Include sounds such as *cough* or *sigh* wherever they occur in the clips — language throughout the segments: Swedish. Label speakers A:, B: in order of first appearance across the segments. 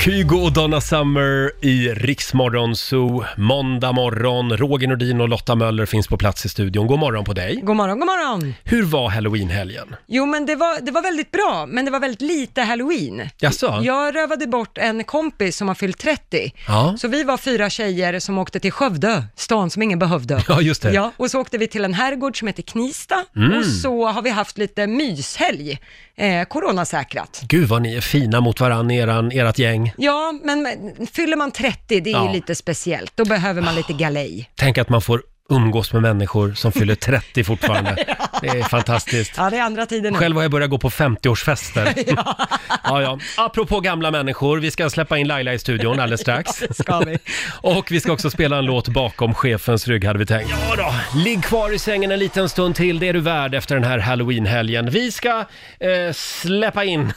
A: Kygo och Donna Summer i Riksmorgon Zoo. Måndag morgon. Roger Nordin och Lotta Möller finns på plats i studion. God morgon på dig.
B: God morgon, god morgon.
A: Hur var halloweenhelgen?
B: Jo, men det var, det var väldigt bra, men det var väldigt lite halloween.
A: Jaså?
B: Jag rövade bort en kompis som har fyllt 30.
A: Ja.
B: Så vi var fyra tjejer som åkte till Skövde, stan som ingen behövde.
A: Ja, just det.
B: Ja, och så åkte vi till en herrgård som heter Knista
A: Mm.
B: och så har vi haft lite myshelg, eh, coronasäkrat.
A: Gud vad ni är fina mot varandra, eran, ert gäng.
B: Ja, men men fyller man 30, det är
A: Ja.
B: ju lite speciellt. Då behöver man lite galej.
A: Tänk att man får umgås med människor som fyller 30 fortfarande. Det är fantastiskt.
B: Ja, det är andra tider nu.
A: Själv har jag börjat gå på 50-årsfester. Ja, ja. Apropå gamla människor, vi ska släppa in Laila i studion alldeles strax.
B: Ska vi?
A: Och vi ska också spela en låt bakom chefens rygg hade vi tänkt. Ja då, ligg kvar i sängen en liten stund till, det är du värd efter den här halloweenhelgen. Vi ska eh, släppa in,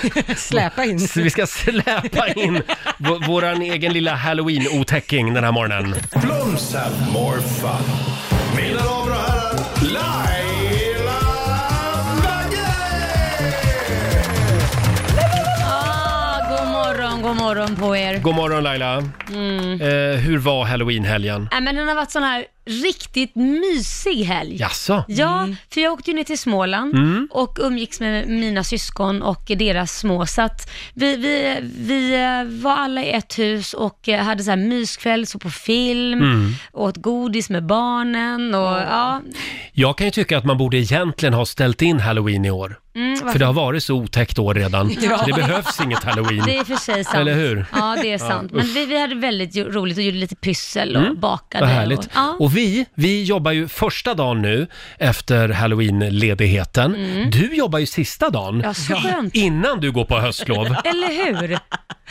A: *laughs*
B: Släpa in.
A: vi ska släpa in v- våran egen lilla halloween-otäcking den här morgonen.
C: Blooms have more fun. Mina damer och herrar, Laila Bagge!
D: Ah, god morgon, god morgon på er.
A: God morgon Laila,
D: Mm.
A: eh, hur var halloweenhelgen?
D: Nej, Äh, men den har varit sån här riktigt mysig helg.
A: Jaså?
D: Ja, för jag åkte ju ner till Småland
A: Mm.
D: och umgicks med mina syskon och deras små. Så att vi, vi, vi eh, var alla i ett hus och eh, hade så här myskväll, såg på film,
A: Mm.
D: åt godis med barnen och ja.
A: Jag kan ju tycka att man borde egentligen ha ställt in halloween i år.
D: Mm,
A: För
D: varför-
A: det har varit så otäckt år redan,
D: *laughs* Ja.
A: så det behövs inget halloween.
D: Det är i och
A: *laughs*
D: för sig sant.
A: Eller hur?
D: Ja, det är
A: Ja,
D: sant.
A: usch.
D: Men vi, vi hade väldigt ju- roligt och gjorde lite pyssel och
A: Mm,
D: bakade.
A: Vad härligt.
D: Och, ja.
A: Och vi, vi jobbar ju första dagen nu efter halloween-ledigheten.
D: Mm.
A: Du jobbar ju sista dagen.
D: Ja, så skönt.
A: Innan du går på
D: *laughs*
A: höstlov.
D: Eller hur?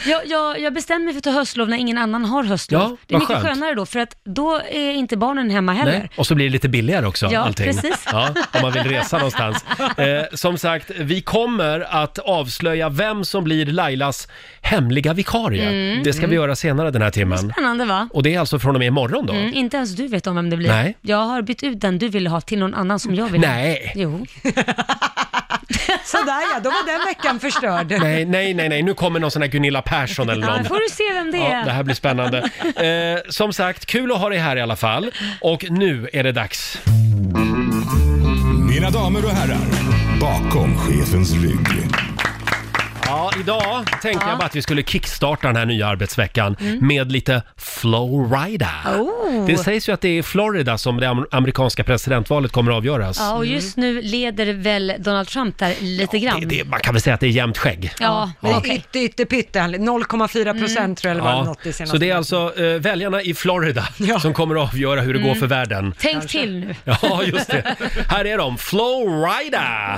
D: Jag, jag, jag bestämmer mig för att ta höstlov när ingen annan har höstlov.
A: Ja,
D: det är
A: vad
D: mycket
A: skönt.
D: skönare då, för att då är inte barnen hemma heller.
A: Nej. Och så blir det lite billigare också.
D: Ja,
A: allting.
D: precis.
A: Ja, om man vill resa
D: *laughs*
A: någonstans. Eh, som sagt, vi kommer att avslöja vem som blir Lailas hemliga vikarie.
D: Mm.
A: Det ska vi
D: Mm.
A: göra senare den här timmen.
D: Spännande va?
A: Och det är alltså från och med imorgon då?
D: Mm, inte ens du vet om vem det blir.
A: Nej.
D: Jag har bytt ut den du ville ha till någon annan som jag vill ha.
A: Nej.
D: Jo.
B: Sådär ja, då var den veckan förstörd.
A: Nej, nej, nej, nej, nu kommer någon sån här Gunilla Persson eller
D: Ja,
A: någon.
D: då får du se vem det är.
A: Ja, det här blir spännande. Eh, som sagt, kul att ha dig här i alla fall. Och nu är det dags.
C: Mina damer och herrar, bakom chefens rygg.
A: Ja, idag tänkte
D: Ja.
A: jag bara att vi skulle kickstarta den här nya arbetsveckan
D: Mm.
A: med lite Florida.
D: Oh.
A: Det sägs ju att det är i Florida som det am- amerikanska presidentvalet kommer att avgöras.
D: Ja, och just nu leder väl Donald Trump där lite grann.
A: Mm. Det, det, man kan väl säga att det är jämnt skägg.
D: Ja,
B: Men
D: okej.
B: ytte, ytte, pytte, 0,4 procent tror jag eller var det något i
A: Mm. så
B: senaste.
A: det är alltså eh, väljarna i Florida som kommer att avgöra hur det går
D: Mm.
A: för världen.
D: Tänk till nu.
A: Ja, just det. Här är de, Florida!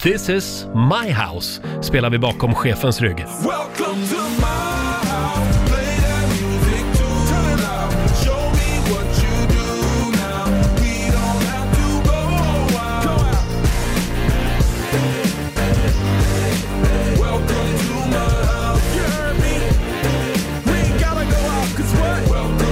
A: This is my house, spelar vi bakom chefens rygg.
C: Welcome to my house. Play that music to turn it up. Show me what you do now. We don't have to go out. Go out. Welcome to my house. You heard me? We ain't gotta go out, cause what? Welcome to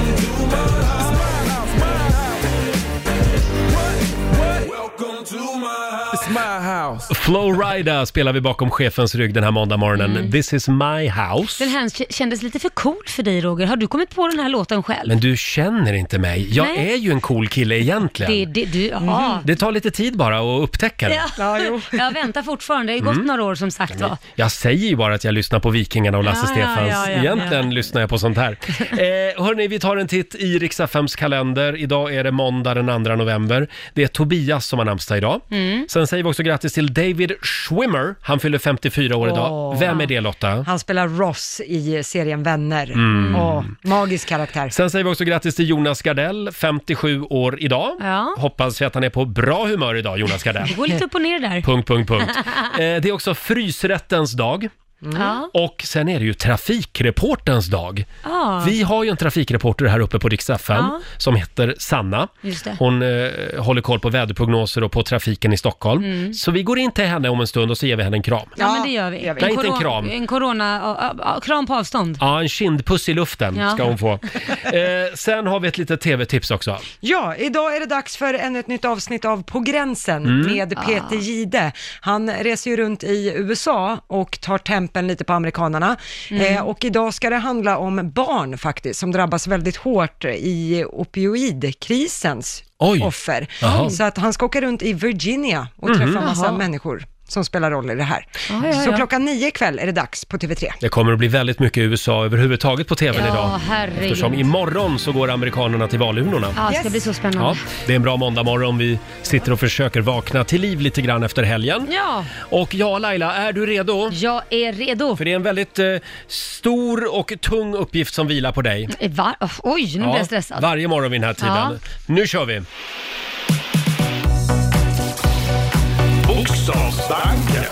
C: my house. It's my house, my house. What? What? Welcome to my house. It's my house.
A: Flowrida spelar vi bakom chefens rygg den här måndagmorgonen. This is my house.
D: Mm. Den här k- kändes lite för cool för dig Roger. Har du kommit på den här låten själv?
A: Men du känner inte mig. Jag
D: Nej.
A: är ju en cool kille egentligen.
D: Det,
A: Det,
D: det, du, ja.
A: tar lite tid bara att upptäcka det.
D: Ja. *laughs* Jag väntar fortfarande. Det har gått
A: Mm.
D: några år som sagt va.
A: Jag säger ju bara att jag lyssnar på Vikingarna och Lasse
D: Ja, ja,
A: Stefans.
D: ja, ja,
A: Egentligen
D: ja.
A: lyssnar jag på sånt
D: *laughs*
A: här. Eh, hörni, vi tar en titt i Riksaffems kalender. Idag är det måndag den 2 november. Det är Tobias som har namnsdag idag.
B: Mm.
A: Sen säger vi också grattis till David Schwimmer. Han fyller 54 år idag.
B: Åh.
A: Vem är det Lotta?
B: Han spelar Ross i serien Vänner.
A: Mm.
B: Åh, magisk karaktär.
A: Sen säger vi också grattis till Jonas Gardell, 57 år idag.
D: Ja.
A: Hoppas vi att han är på bra humör idag, Jonas Gardell.
D: Det går lite upp och ner där.
A: Punkt, punkt,
D: *laughs*
A: punkt. Eh, det är också frysrättens dag.
D: Ja.
A: Och sen är det ju trafikreporterns dag.
D: Ja.
A: Vi har ju en trafikreporter här uppe på Rix FM
D: Ja.
A: som heter Sanna.
D: Just det.
A: Hon eh, håller koll på väderprognoser och på trafiken i Stockholm.
D: Mm.
A: Så vi går in till henne om en stund och så ger vi henne en kram.
D: Ja, men det gör vi.
A: Nej, inte en
D: corona-
A: kram.
D: En corona, ja, ja, kram på avstånd.
A: Ja, en kindpuss i luften
B: Ja.
A: ska hon få. Eh, sen har vi ett litet tv-tips också.
B: Ja, idag är det dags för ännu ett nytt avsnitt av På gränsen
A: Mm.
D: Ah.
B: med Peter Gide. Han reser ju runt i USA och tar tempen stämpeln lite på amerikanarna.
D: Mm.
B: Eh, och idag ska det handla om barn faktiskt, som drabbas väldigt hårt i opioidkrisens
A: Oj.
B: offer.
A: Jaha.
B: Så att han ska åka runt i Virginia och träffa en massa
D: Mm-hmm. Jaha.
B: människor som spelar roll i det här.
D: Ja, ja,
B: Så
D: ja.
B: klockan nio ikväll är det dags på TV3.
A: Det kommer att bli väldigt mycket USA överhuvudtaget på tvn
D: Ja,
A: idag.
D: herregud.
A: Eftersom imorgon så går amerikanerna till valurnorna.
D: Ja, det ska
B: Yes.
D: bli så
A: Ja,
D: spännande.
A: det är en bra måndagmorgon. Vi sitter och försöker vakna till liv lite grann efter helgen.
D: Ja,
A: Och ja, Laila, är du redo?
D: jag är redo.
A: För det är en väldigt eh, stor och tung uppgift som vilar på dig.
D: Eh, Va? Oh, Oj, nu blir jag stressad.
A: varje morgon vid den här tiden.
D: Ja.
A: Nu kör vi!
E: Bokstavsbanken.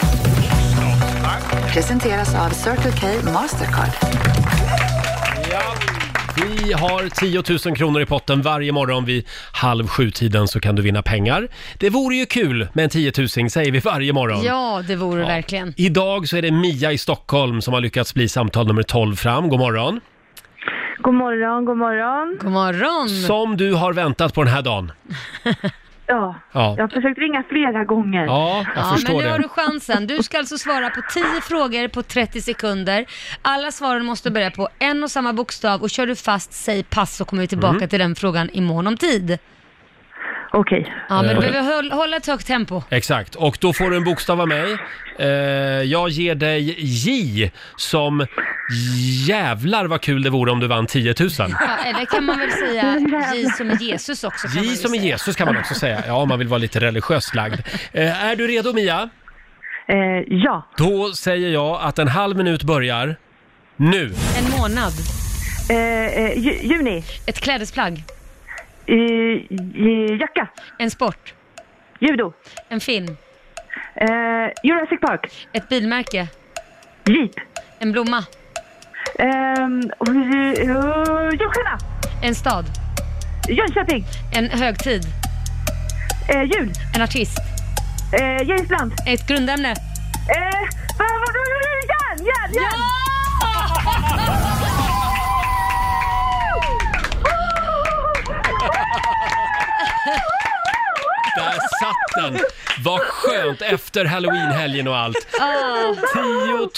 F: Presenteras av Circle K Mastercard.
A: Vi har 10 000 kronor i potten varje morgon vid halv sju-tiden så kan du vinna pengar. Det vore ju kul med en 10 000 säger vi varje morgon.
D: Ja, det vore det verkligen.
A: Idag så är det Mia i Stockholm som har lyckats bli samtal nummer 12 fram. God morgon!
G: God morgon, god morgon.
D: God morgon.
A: Som du har väntat på den här dagen.
G: Ja,
A: Ja.
G: jag har försökt ringa flera gånger.
A: Ja, jag
D: Ja, men
A: förstår
D: nu har
A: det.
D: du chansen. Du ska alltså svara på 10 frågor på 30 sekunder. Alla svaren måste börja på en och samma bokstav och kör du fast, säg pass så kommer vi tillbaka
A: Mm.
D: till den frågan imorgon om tid.
G: Okej.
D: Ja, men
A: Eh.
D: du behöver hålla, hålla ett högt tempo.
A: Exakt, och då får du en bokstav av mig. Eh, jag ger dig J som jävlar vad kul det vore om du vann 10 000.
D: Ja, eller kan man väl *laughs* säga J som är Jesus också? kan man
A: J
D: väl
A: som är
D: säga.
A: Jesus kan man också säga, ja om man vill vara lite religiöst lagd. Eh, är du redo Mia?
G: Eh, ja,
A: Då säger jag att en halv minut börjar nu.
D: En månad.
G: eh, eh, ju, juni.
D: Ett klädesplagg.
G: Eh, j- jacka.
D: En sport.
G: Judo.
D: En film.
G: Eh, Jurassic Park.
D: Ett bilmärke.
G: Jeep.
D: En blomma.
G: Eh, uh, Julstjärna.
D: En stad.
G: Jönköping.
D: En högtid.
G: Eh, jul.
D: En artist.
G: Eh, Jämtland.
D: Ett grundämne.
G: Eh, vad- vad- vad- järn, järn, järn!
A: Där satt den! Vad skönt efter halloweenhelgen och allt.
D: Ja.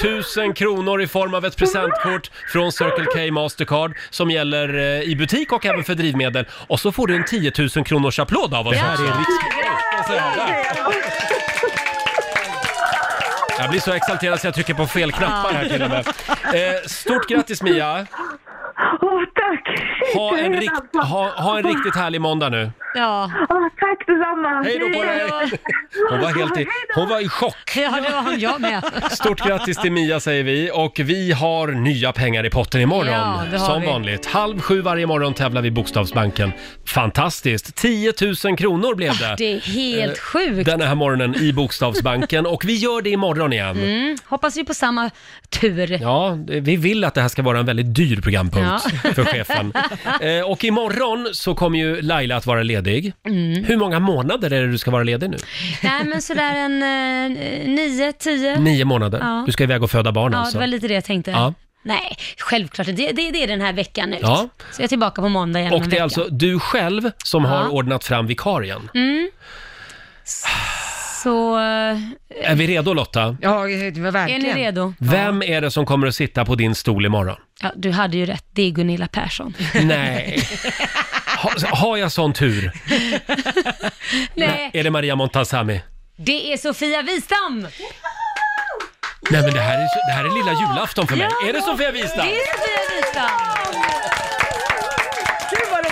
A: 10 000 kronor i form av ett presentkort från Circle K Mastercard som gäller eh, i butik och även för drivmedel. Och så får du en 10 000 kronors applåd av oss här i Riksdagen. Jag blir så exalterad så jag trycker på fel knappar här till och med. Eh, stort grattis Mia!
G: Åh, tack!
A: Ha en,
G: Shit,
A: rikt- ha, ha en riktigt härlig måndag nu.
D: Ja. *laughs*
G: Åh, tack detsamma!
A: Hej då på dig! Hon var helt i, hon var i chock.
D: Ja, det var han jag med.
A: Stort grattis till Mia säger vi och vi har nya pengar i potten imorgon.
D: Ja, det har
A: som
D: vi.
A: vanligt. Halv sju varje morgon tävlar vi i Bokstavsbanken. Fantastiskt! 10 000 kronor blev *laughs* det.
D: Ah, Det är helt sjukt.
A: Den här morgonen i Bokstavsbanken och vi gör det imorgon igen.
D: Mm. Hoppas vi på samma tur.
A: Ja, vi vill att det här ska vara en väldigt dyr programpunkt för chefen. Eh, och imorgon så kommer ju Laila att vara ledig.
D: Mm.
A: Hur många månader är det du ska vara ledig nu?
D: *laughs* Nej, men sådär en eh, nio, tio.
A: Nio månader.
D: Ja.
A: Du ska iväg och föda barn
D: Ja,
A: Mm, alltså.
D: det var lite det jag tänkte.
A: Ja.
D: Nej, självklart. Det, det, det är den här veckan ut.
A: Ja.
D: Så jag är tillbaka på måndag igen om
A: Och
D: en
A: det är
D: vecka.
A: alltså du själv som har
D: Ja.
A: ordnat fram vikarien.
D: Så eh,
A: Är vi redo Lotta?
B: Ja, eh, det var
D: är
B: verkligen.
D: ni redo?
A: Vem är det som kommer att sitta på din stol
D: *laughs*
A: imorgon?
D: Ja, du hade ju rätt. Det är Gunilla
A: *laughs*
D: Persson.
A: Nej. Ha, har jag sån tur?
D: Nej,
A: Är det Maria Montazami?
D: det är Sofia Wistam!
A: Nej men det här är, så- det här är lilla julafton för mig. Är det Sofia Wistam?
D: Det är Sofia Wistam!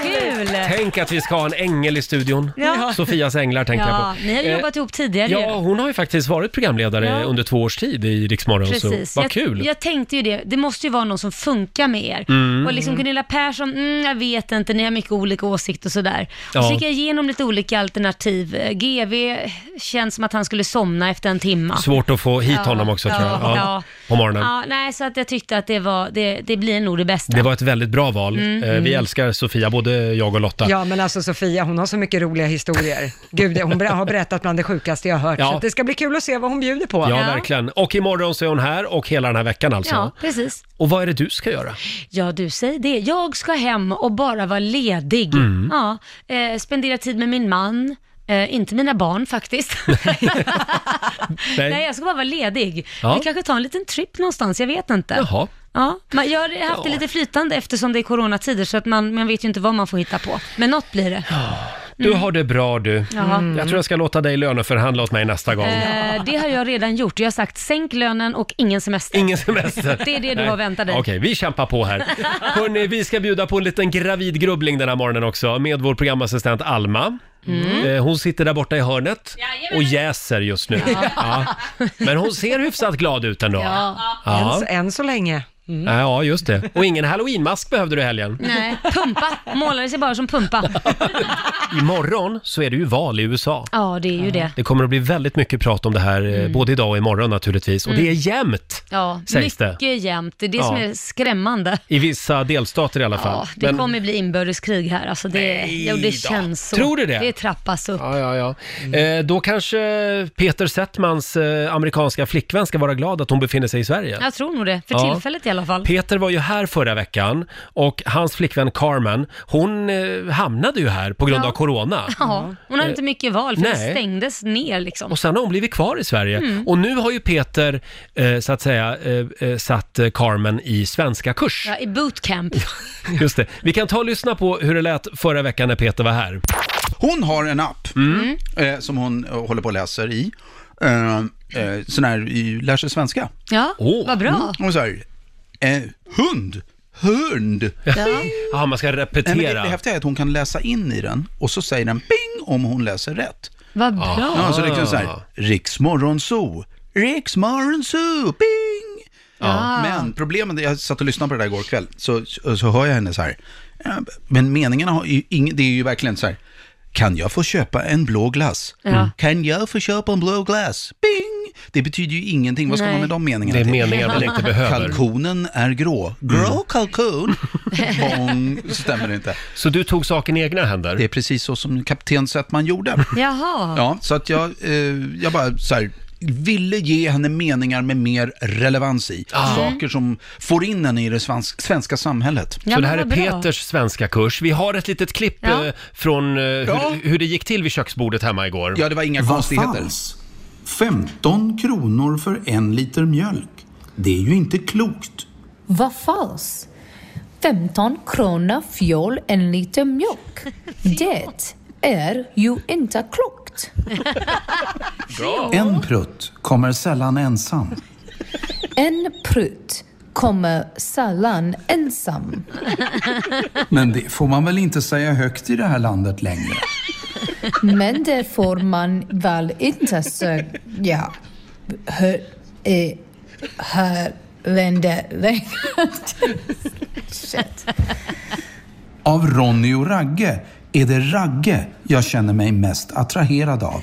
D: Kul!
A: Tänk att vi ska ha en ängel i studion.
D: Ja.
A: Sofias änglar tänkte
D: Ja,
A: jag på.
D: ni har ju
A: Eh,
D: jobbat ihop tidigare ju.
A: Ja, hon har ju faktiskt varit programledare
D: Ja.
A: under två års tid i Rix Morgon,
D: Precis.
A: så vad
D: jag,
A: kul. Mm.
D: Jag tänkte ju det, det måste ju vara någon som funkar med er. Och liksom Gunilla Persson, mm, jag vet inte, ni har mycket olika åsikter och sådär. Och
A: Ja.
D: så gick jag igenom lite olika alternativ. Eh, GV känns som att han skulle somna efter en timma.
A: Svårt att få hit honom också tror jag. Ja. På morgonen.
D: Ja, nej, så att jag tyckte att det, var, det, det blir nog det bästa.
A: Det var ett väldigt bra val.
D: Mm.
A: Eh, Vi älskar Sofia, både jag och Lotta.
B: Ja, men alltså Sofia, hon har så mycket roliga historier. Gud, hon ber- har berättat bland det sjukaste jag har hört.
A: Ja.
B: Så att det ska bli kul att se vad hon bjuder på.
A: Ja,
D: Ja.
A: verkligen. Och imorgon så är hon här och hela den här veckan alltså.
D: Ja, precis.
A: Och vad är det du ska göra?
D: Ja, du säger det.
A: Mm.
D: Jag ska hem och bara vara ledig. Ja, eh, spendera tid med min man. Eh, inte mina barn faktiskt. *laughs*
A: Nej.
D: Nej, jag ska bara vara ledig.
A: Ja.
D: Vi kanske tar en liten trip någonstans, jag vet inte.
A: Jaha.
D: Ja, men jag har haft det lite flytande eftersom det är coronatider så att man, man vet ju inte vad man får hitta på. Men något blir det. Mm.
A: Du har det bra du.
D: Jaha.
A: Jag tror jag ska låta dig löneförhandla åt mig nästa gång.
D: Mm. Eh, det har jag redan gjort. Jag har sagt sänk lönen och ingen semester.
A: Ingen semester.
D: Det är det du
A: Nej.
D: har väntat dig.
A: Okej, vi kämpar på
D: *laughs*
A: här. Hörrni, vi ska bjuda på en liten gravidgrubbling den här morgonen också med vår programassistent Alma.
D: Mm.
A: Eh, Hon sitter där borta i hörnet och jäser just nu. Ja. Men hon ser hyfsat glad ut ändå.
D: Ja.
A: Ja.
B: Än, än så länge.
A: ja, just det. Och ingen halloweenmask behövde du i helgen.
D: Nej, pumpa. Målade sig bara
A: *laughs*
D: som pumpa.
A: Imorgon så är det ju val i USA.
D: Ja, det är ju det.
A: Det kommer att bli väldigt mycket prat om det här, eh, både idag och imorgon naturligtvis. Och det är jämnt,
D: Mm. Ja,
A: sägs det.
D: mycket jämnt. Det är det
A: Ja.
D: som är skrämmande.
A: I vissa delstater i alla fall.
D: Ja, det
A: Men-
D: kommer bli inbördeskrig här. Alltså det,
A: Nej
D: jo, det
A: då.
D: känns så.
A: Tror du det?
D: Det trappas upp.
A: Ja, ja, ja.
D: Mm.
A: Eh, då kanske Peter Settmans eh, amerikanska flickvän ska vara glad att hon befinner sig i Sverige.
D: Jag tror nog det. För
A: Ja.
D: tillfället i alla fall.
A: Peter var ju här förra veckan och hans flickvän Carmen, hon eh, hamnade ju här på grund
D: Ja.
A: av
D: *laughs*
A: corona.
D: Ja, hon hade inte mycket val för
A: nej.
D: det stängdes ner liksom.
A: Och sen har hon blivit kvar i Sverige.
D: Mm.
A: Och nu har ju Peter, eh, så att säga, eh, eh, satt eh, Carmen i svenska kurs.
D: Ja, I bootcamp.
A: Just det. Vi kan ta och lyssna på hur det lät förra veckan när Peter var här.
E: Hon har en app
D: Mm.
E: eh, som hon eh, håller på och läser i. Eh, eh, sån här, i, lär sig svenska. Mm.
D: Ja,
A: Åh. Mm.
D: vad bra.
E: Hon säger, eh, hund, hund.
D: Ja.
A: Ja, man ska
E: Nej, men det,
A: repetera.
E: det häftiga är att hon kan läsa in i den och så säger den ping om hon läser rätt.
D: Vad bra.
E: Ja, så det kan så här,
A: Ah.
E: riksmorgonso, riksmorgonso, ping.
D: Ja.
E: Men problemet, är- jag satt och lyssnade på det där igår kväll, så, så, så hör jag henne så här. eh, Men meningarna har ju ingen, det är ju verkligen så här. Kan jag få köpa en blå glass?
D: Ja. Mm.
E: Kan jag få köpa en blå glass? Bing! Det betyder ju ingenting. Vad ska
D: Nej.
E: man med de meningarna
A: Det är
E: till?
A: meningar man
E: *laughs*
A: inte behöver. Mm.
E: Kalkonen är grå. Grå
A: *laughs*
E: kalkon? Bong! Stämmer det inte.
A: Så du tog saken i egna händer?
E: Det är precis så som kapten Settman gjorde.
D: Jaha.
E: Ja, så att jag, eh, jag bara så här, ville ge henne meningar med mer relevans i. Saker som får in henne i det svans- svenska samhället.
D: Ja,
A: Så
D: men
A: det här är
D: vad bra.
A: Peters svenska kurs. Vi har ett litet klipp
D: Ja.
A: eh, från eh,
E: Ja.
A: hur, hur det gick till vid köksbordet hemma igår.
E: Ja, det var inga
H: Vad
E: konstigheter.
H: fanns?
E: 15 kronor för en liter mjölk. Det är ju inte klokt.
I: Vad falskt! 15 kronor fjol en liter mjölk. Det är ju inte klokt.
E: En prutt kommer sällan ensam.
I: En prutt kommer sällan ensam.
E: Men det får man väl inte säga högt i det här landet längre?
I: Men det får man väl inte säga hör, eh, i här länder längre. Shit.
E: Av Ronny och Ragge är det Ragge jag känner mig mest attraherad av.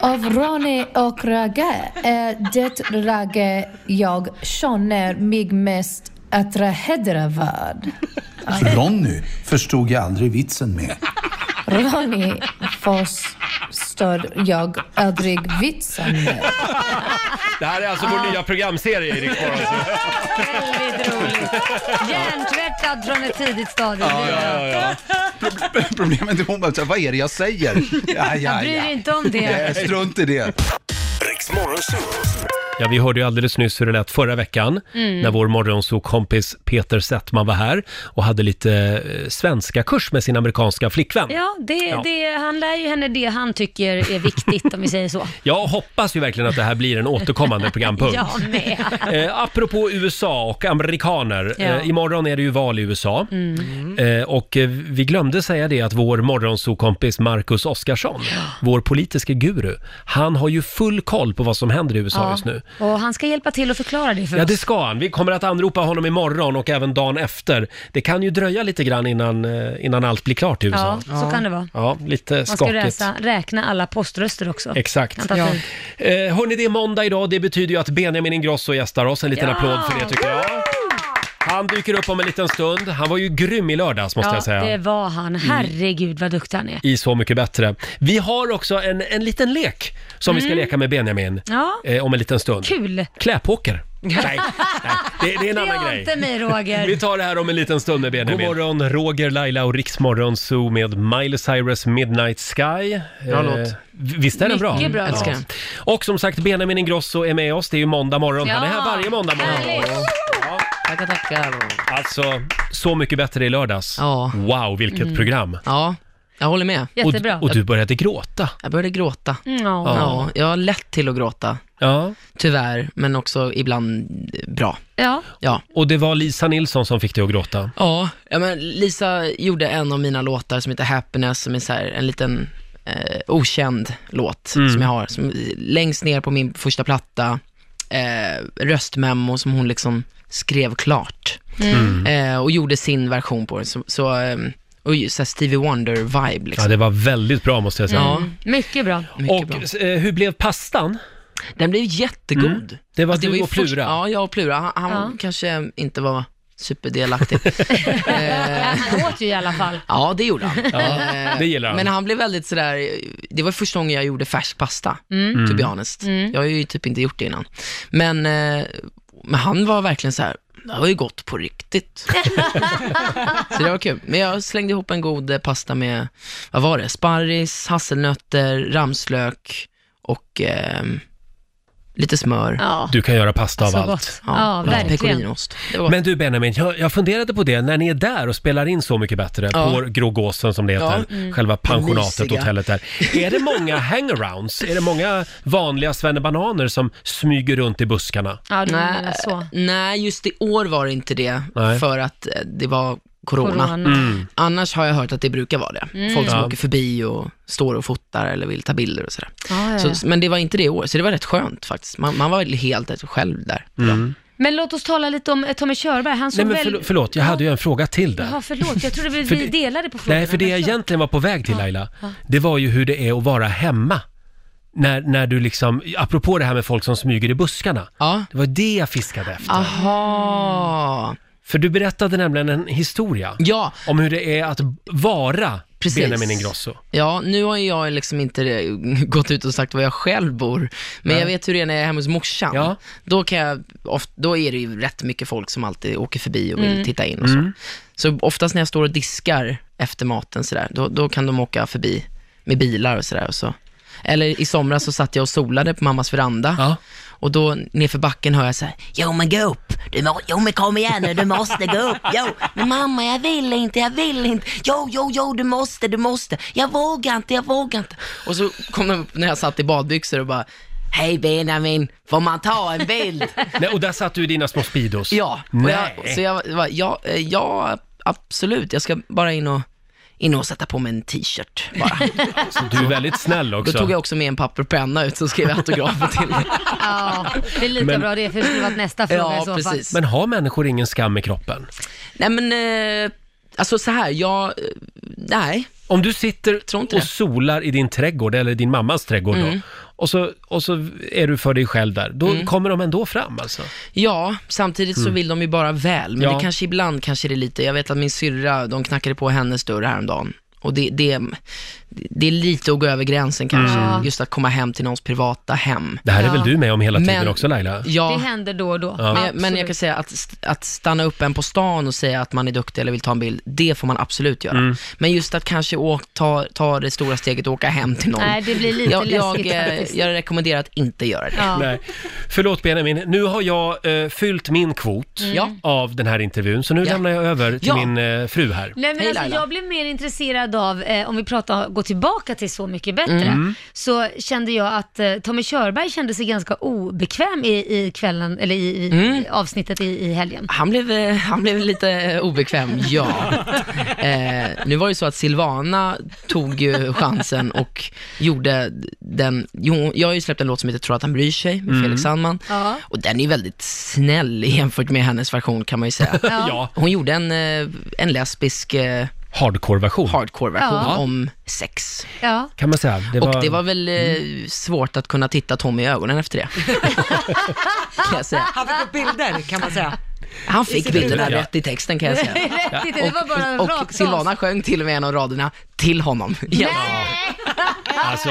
I: Av Ronny och Ragge är det Ragge jag känner mig mest attraherad av.
E: Ronny förstod jag aldrig vitsen med.
I: Ronny förstår jag aldrig vitsen med.
A: Det här är alltså vår nya programserie i Rix Morgon.
D: Väldigt roligt. Hjärntvättad från ett tidigt stadium.
E: *laughs* Problemet är hon bara, så här, vad är det jag säger?
D: *laughs*
E: Ja, ja,
D: Jag bryr
E: ja.
D: dig inte om
A: *laughs*
D: det.
E: Nej, Strunt i det.
H: Riksmorgonzoo.
A: Ja, vi hörde ju alldeles nyss hur det lät förra veckan när vår morgonsokompis Peter Settman var här och hade lite eh, svenska kurs med sin amerikanska flickvän.
D: Ja, det, Det, han lär ju henne det han tycker är viktigt om vi säger så.
A: Jag hoppas ju verkligen att det här blir en återkommande programpunkt.
D: Jag med.
A: Eh, apropå USA och amerikaner.
D: Ja. Mm.
A: Eh, imorgon är det ju val i USA. Eh, och eh, vi glömde säga det att vår morgonsokompis Marcus Oskarsson, vår politiska guru, han har ju full koll på vad som händer i USA just nu.
D: Och han ska hjälpa till att förklara det för
A: Ja,
D: oss.
A: det ska han. Vi kommer att anropa honom imorgon och även dagen efter. Det kan ju dröja lite grann innan, eh, innan allt blir klart i USA.
D: Ja, så kan det vara.
A: Ja, lite
D: Man ska
A: skakigt.
D: räsa, räkna alla poströster också.
A: Exakt.
D: Han tar tid.
A: Eh, hörni, det är måndag idag. Det betyder ju att Benjamin Ingrosso gästar oss. En liten
D: Ja!
A: applåd för det tycker jag. Han dyker upp om en liten stund. Han var ju grym i lördags måste
D: Ja,
A: jag säga. Mm.
D: det var han. Herregud vad duktig han är.
A: I Så mycket bättre. Vi har också en, en liten lek som vi ska leka med Benjamin
D: Mm. Ja.
A: eh, om en liten stund.
D: Kul! *laughs*
A: Kläpoker. Nej, nej. Det, det är en annan
D: Gör
A: grej.
D: inte
A: *laughs*
D: mig Roger.
A: Vi tar det här om en liten stund med Benjamin. God morgon, Roger, Laila och Riksmorgon Zoo med Miley Cyrus Midnight Sky. Eh,
J: Bra låt.
A: Visst är den bra?
D: Mycket bra låt. Älskar den.
A: Och som sagt, Benjamin Ingrosso är med oss. Det är ju måndag morgon. Han är här
D: Ja.
A: varje måndag morgon.
D: Härligt.
J: Tackar, tackar.
A: Alltså, så mycket bättre i lördags.
J: Ja.
A: Wow, vilket program.
J: Ja, jag håller med.
D: Mm. Jättebra. Mm,
A: Och, och du började gråta.
J: Jag började gråta.
D: Ja.
J: Ja, jag har lätt till att gråta.
A: Ja.
J: Tyvärr, men också ibland bra.
D: Ja.
J: Ja.
A: Och det var Lisa Nilsson som fick dig att gråta.
J: Ja, ja men Lisa gjorde en av mina låtar som heter Happiness, som är så här en liten eh, okänd låt som jag har. Som, längst ner på min första platta, eh, röstmemo som hon liksom skrev klart. Eh, och gjorde sin version på den. Så, så, eh, och ju så här Stevie Wonder-vibe
A: Ja,
J: liksom.
A: det var väldigt bra måste jag säga. Mm.
J: Ja,
D: Mycket bra.
J: mycket bra.
A: Och eh, hur blev pastan?
J: Den blev jättegod.
A: Mm.
J: Alltså,
A: Det var du
J: ju
A: och
J: först-
A: Plura.
J: ja, jag och Plura. Han, han
D: Ja.
J: kanske inte var
D: *laughs*
J: superdelaktig.
D: Ja, han åt ju i
A: *laughs*
D: alla fall.
J: ja, det gjorde han.
A: Ja, det gillar han.
J: Men han blev väldigt sådär, det var första gången jag gjorde färsk pasta,
D: Mm.
J: to
A: Mm.
J: be honest. Jag har ju typ inte gjort det innan. Men, eh, men han var verkligen så här. det här var ju gott
D: *laughs*
J: på riktigt. så det var kul. Men jag slängde ihop en god eh, pasta med, vad var det, sparris, hasselnötter, ramslök och ehm, lite smör.
D: Ja.
A: Du kan göra pasta
D: Så
A: av allt.
D: gott. Ja, verkligen.
J: Pecorinoost. Det var
A: Men du Benjamin, jag, jag funderade på det när ni är där och spelar in Så mycket bättre
J: Ja.
A: på Grå Gåsen som det heter,
J: Ja.
D: Mm.
A: själva pensionatet,
J: Mysiga.
A: hotellet där. Är det
D: *laughs*
A: många hangarounds? Är det många vanliga svennebananer som smyger runt i buskarna?
D: Ja, du
J: Nej.
D: menar så.
J: Nej, just i år var det inte det,
A: Nej. Mm.
J: för att eh, det var corona.
D: Corona. Mm.
J: Annars har jag hört att det brukar vara det. Folk som
A: Ja.
J: åker förbi och står och fotar eller vill ta bilder och sådär.
D: Ja, ja, ja.
J: Så, men det var inte det i år, så det var rätt skönt faktiskt. Man, man var helt själv där.
A: Mm.
D: Men låt oss tala lite om eh, Tommy Körberg. Han
A: Nej
D: såg
A: men
D: väl...
A: förl- förlåt, jag hade ju en fråga till där.
D: Ja, förlåt. Jag trodde vi,
A: För
D: vi
A: det-
D: delade på frågorna.
A: Nej, för det jag
D: men förlåt.
A: egentligen var på väg till Laila, det var ju hur det är att vara hemma. När, när du liksom, apropå det här med folk som smyger i buskarna.
J: Ja.
A: Det var det jag fiskade efter.
J: Aha.
A: För du berättade nämligen en historia
J: Mm. Ja,
A: om hur det är att vara
J: Precis.
A: Benjamin Ingrosso.
J: Ja, nu har ju jag liksom inte eh, gått ut och sagt var jag själv bor, men jag vet hur det är när jag är hemma hos morsan.
A: Ja.
J: Då, kan jag, of, då är det ju rätt mycket folk som liksom alltid åker förbi och vill titta in och så. Så oftast när jag står och diskar efter maten sådär, då, då kan de åka förbi med bilar och sådär. Och så. Eller i somras så satt jag och solade på mammas veranda
A: Ja.
J: och då nerför backen hör jag så här, jo men gå upp, du må, jo men kom igen nu, du måste gå upp, jo, men mamma jag vill inte, jag vill inte, jo, jo, jo, du måste, du måste, jag vågar inte, jag vågar inte. Och så kom de upp när jag satt i badbyxor och bara, hej Benjamin, får man ta en bild?
A: Nej, och där satt du i dina små Speedos.
J: ja, och
A: Nej.
J: jag, så jag, var- ja, eh, ja, absolut, jag ska bara in och, in och sätta på mig en t-shirt *laughs* bara.
A: Du är väldigt snäll
J: Då
A: också.
J: tog jag också med en papper och penna ut, så skrev jag autografen till
D: Ja, det är lika
A: Men-
D: bra det, för det skulle varit nästa fråga i
J: Ja,
D: så fall.
J: precis.
A: Men har människor ingen skam i kroppen?
J: *laughs* Nej men, eh, alltså så här, jag, eh, nej.
A: Om du sitter
J: Tror inte
A: och
J: det. Mm.
A: solar i din trädgård, eller din mammas trädgård då, och så, och så är du för dig själv där, då kommer de ändå fram alltså.
J: Ja, samtidigt så vill de ju bara väl, men
A: Ja.
J: det kanske ibland kanske det är lite, jag vet att min syrra, de knackade på hennes dörr häromdagen. Och det, det, det är lite att gå över gränsen kanske, Mm. just att komma hem till någons privata hem.
A: Det här är
D: Ja.
A: väl du med om hela tiden
J: Men-
A: också Laila?
J: Ja,
D: Det händer då och då.
J: men, jag-
D: Absolut.
J: men jag kan säga att, st- att stanna upp en på stan och säga att man är duktig eller vill ta en bild, det får man absolut göra. Men just att kanske å, ta, ta det stora steget och åka hem till någon.
D: Nej, det blir lite
J: jag, jag,
D: läskigt
J: eh,
D: faktiskt.
J: jag rekommenderar att inte göra det.
A: *laughs*
D: Ja.
A: Nej. Förlåt Benjamin, nu har jag eh, fyllt min kvot
J: Mm. Ja.
A: av den här intervjun, så nu
J: Ja.
A: lämnar jag över till
J: Ja.
A: min eh, fru här.
D: Nej, men
J: Hej,
D: alltså,
J: Laila.
D: jag blev mer intresserad av, eh, om vi pratar, gå tillbaka till Så mycket bättre,
J: Mm.
D: så kände jag att eh, Tommy Körberg kände sig ganska obekväm i, i kvällen, eller i, i
J: Mm.
D: avsnittet i, i helgen.
J: Han blev, eh, han blev lite obekväm,
D: *laughs*
J: ja. Eh, nu var det så att Silvana tog ju chansen och gjorde den, jo, jag har ju släppt en låt som heter Tror att han bryr sig med Felix Sandman.
D: Ja.
J: Och den är ju väldigt snäll jämfört med hennes version kan man ju säga.
A: Ja.
J: Hon gjorde en, eh, en lesbisk eh,
A: Hardcore-version,
J: hardcore-version
D: Ja.
J: om sex.
D: Ja.
A: kan man säga. Det
J: Och det var väl eh, svårt att kunna titta Tommy i ögonen efter det. kan jag säga.
B: Han fick upp bilder kan man säga.
J: Han fick bilderna
A: Ja.
J: rätt i texten kan jag säga.
D: *laughs* Rätt inte, det var bara en
J: Och
D: rak
J: Silvana sjöng till och med en av raderna till honom. Ja.
A: Alltså,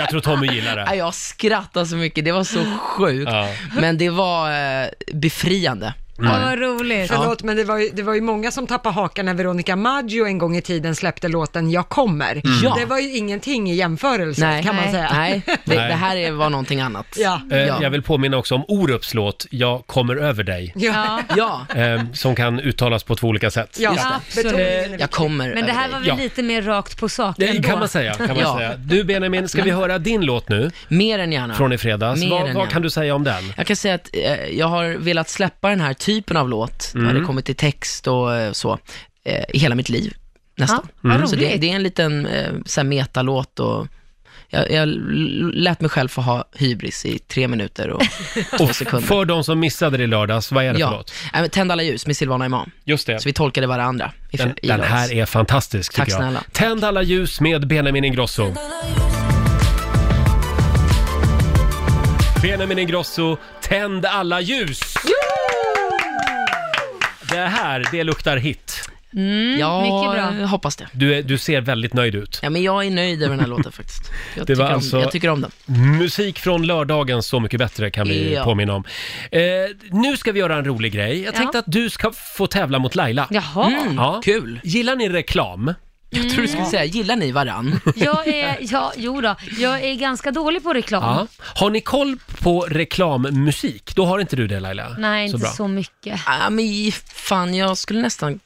A: jag tror Tommy gillar det.
J: Ja, Jag skrattade så mycket, det var så sjukt.
A: Ja.
J: Men det var eh, befriande.
D: Ja,
J: Mm.
D: vad roligt.
B: Förlåt, men det var, ju, det var ju många som tappade hakan när Veronica Maggio en gång i tiden släppte låten Jag kommer.
J: Ja.
B: Det var ju ingenting i jämförelse
J: Nej,
B: kan man
J: nej,
B: säga.
J: nej. Det,
A: Nej.
J: det här är- var någonting annat.
B: *laughs* Ja.
A: Eh,
J: Ja.
A: Jag vill påminna också om Orups låt Jag kommer över dig,
B: Ja,
D: Ja,
J: ja.
A: eh, som kan uttalas på två olika sätt.
B: ja,
J: Just det.
D: absolut.
J: Jag kommer
D: Men det här
J: över
D: var
J: dig.
D: väl
A: Ja.
D: lite mer rakt på sak
A: Det
D: ändå.
A: kan man säga. Kan man
J: Ja.
A: säga. Du Benjamin, ska vi höra din låt nu
J: Mer än gärna.
A: från i fredags?
J: Mer
A: Vad,
J: än
A: vad
J: gärna.
A: kan du säga om den?
J: Jag kan säga att eh, jag har velat släppa den här typen av låt, när
A: Mm.
J: det kommer till text och eh, så, eh, i hela mitt liv nästan. Mm.
D: Ja, vad
J: Så det,
D: roligt.
J: det är en liten eh, så här metalåt och jag, jag l- lät mig själv få ha hybris i tre minuter och två
A: Och
J: sekunder.
A: för de som missade det i lördags, vad är det för
J: Ja,
A: låt?
J: Äh, men Tänd alla ljus med Silvana Imam.
A: Just det.
J: Så vi tolkade varandra. I,
A: Den,
J: i
A: den
J: lördags.
A: här är fantastisk tycker
J: Tack
A: jag.
J: snälla.
A: Tänd alla ljus med Benjamin Ingrosso. Benjamin Ingrosso, tänd alla ljus! Det här, det luktar hit.
J: ja,
D: Mm, mycket bra.
J: jag hoppas det.
A: Du, är, du ser väldigt nöjd ut.
J: Ja, men jag är nöjd över den här låten faktiskt. Jag,
A: Det var
J: tycker,
A: alltså-
J: om, jag tycker om den.
A: Musik från lördagen Så mycket bättre kan vi
J: Ja.
A: påminna om. Eh, nu ska vi göra en rolig grej. Jag
D: Ja.
A: tänkte att du ska få tävla mot Laila.
D: Jaha,
A: Ja.
J: Mm. Kul.
A: Gillar ni reklam?
J: Jag tror du skulle säga, gillar ni varann?
D: jag är, ja, jo då, jag är ganska dålig på reklam.
A: Ja. Har ni koll på reklammusik? Då har inte du det Laila.
D: Nej, inte så,
A: bra.
D: mycket.
J: Ja, men fan, jag skulle nästan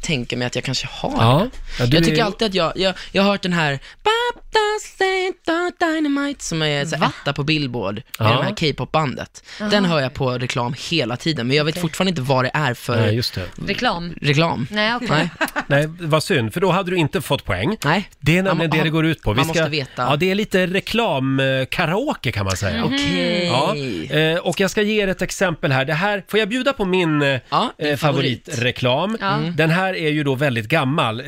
J: tänka mig att jag kanske har
A: Ja. Ja, du
J: jag tycker
A: är-
J: alltid att jag, jag, jag har hört den här Bapta Saint Dynamite som är så här etta på Billboard med
A: Ja.
J: det här K-pop-bandet. Den hör jag på reklam hela tiden, men jag vet fortfarande inte vad det är för
A: Nej, just det.
D: Reklam?
J: reklam.
D: Nej, okej.
J: Nej.
A: Nej, vad synd, för då hade du inte fått poäng.
J: Nej.
A: Det är
J: Man må-
A: nämligen det det går ut på.
J: man måste veta. Mm.
A: Ja, det är lite reklamkaraoke kan man säga.
D: Mhm.
J: Okej.
A: Ja, eh, och jag ska ge er ett exempel här. Det här, får jag bjuda på min eh,
J: Ja, din
A: eh,
J: favorit.
A: favoritreklam?
D: Ja. Mm.
A: Den här är ju då väldigt gammal, eh,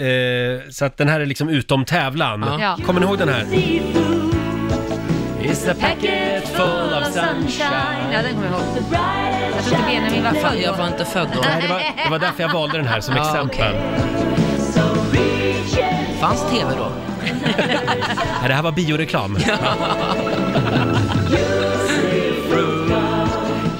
A: så att den här är liksom utom tävlan.
J: Ja.
D: Ja.
A: Kommer ni ihåg den här? It's a packet full of sunshine.
D: Ja, den kommer jag ihåg. Jag tror inte Benjamin var
J: Fan,
D: född
J: jag var inte född då.
A: Nej, det, var, det var därför jag valde den här som
J: Ja,
A: exempel.
J: Fanns TV då?
A: *laughs* Nej, Det här var bioreklam.
J: *laughs*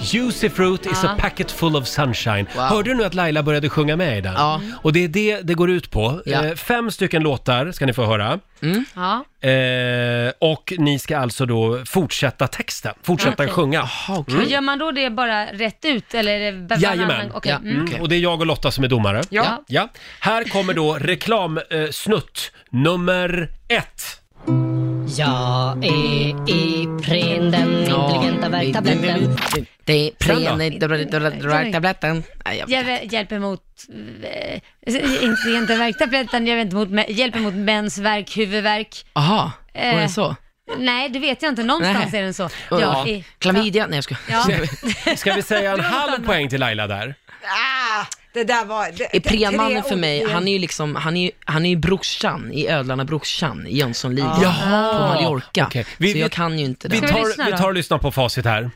A: Juicy fruit is a packet full of sunshine.
J: Ah. Wow.
A: Hörde du nu att Laila började sjunga med i den?
J: Ja.
A: Och det är det det går ut på.
J: Ja.
A: Eh, fem stycken låtar ska ni få höra.
D: *laughs* Ja.
A: Eh, och ni ska alltså då fortsätta texten, fortsätta
D: Okej.
A: sjunga. Mm.
J: Ah, okej.
D: Men Gör man då det bara rätt ut eller? är det-
A: Jajamän.
D: Okej.
J: Ja.
D: Mm.
J: Okej.
A: Och det är jag och Lotta som är domare.
D: Ja.
A: ja. Här kommer då reklamsnutt nummer ett.
I: Jag är Ipren, den intelligenta värktabletten.
J: Det är
A: Sen
J: prenumerattabletten. Nej, jag-
D: Hjäl- Hjälp emot, eh, inte, inte värktabletten, hjälp inte mot, mä- hjälp emot mensvärk, huvudvärk.
J: Jaha, var det
D: Eh.
J: så?
D: Nej, det vet jag inte. Någonstans
J: Nej.
D: är den så.
J: Ja.
D: i-
J: Klamydia? Nej, jag ska.
D: Ja.
A: Ska vi säga en halv poäng till Laila där?
B: Ah, det där var... Det,
J: Är Prenmannen
B: tre
J: för mig,
B: ord i en-
J: han är ju liksom, han är, ju- han är ju brorsan i Ödlarna brorsan i Jönssonligan
A: Jaha.
J: på Mallorca.
A: Okej. Vi-
J: Vi, så
A: vi-
J: jag kan ju inte
A: Vi
J: det.
D: vi lyssna
A: tar, vi
D: då?
A: tar och lyssnar på facit här.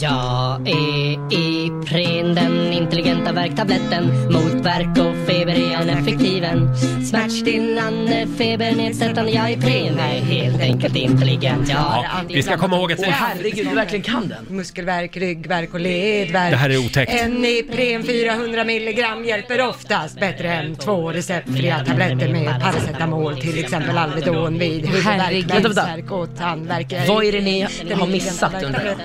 I: Jag är Ipren, den intelligenta värktabletten. Mot värk och feber är han effektiven. Smärtstillande, febernedsättande. Jag är Ipren, är helt enkelt intelligent. Jag har
A: Ja,
I: aldrig
A: vi ska komma ihåg att...
J: herregud, du verkligen kan den.
B: Muskelvärk, ryggvärk och ledvärk.
A: Det här är otäckt.
B: En Ipren 400 milligram hjälper oftast bättre än två receptfria tabletter med paracetamol, till exempel Alvedon vid huvudvärk,
D: Herregud.
B: mensvärk och tandvärk.
J: Vad är det ni har missat undrar jag?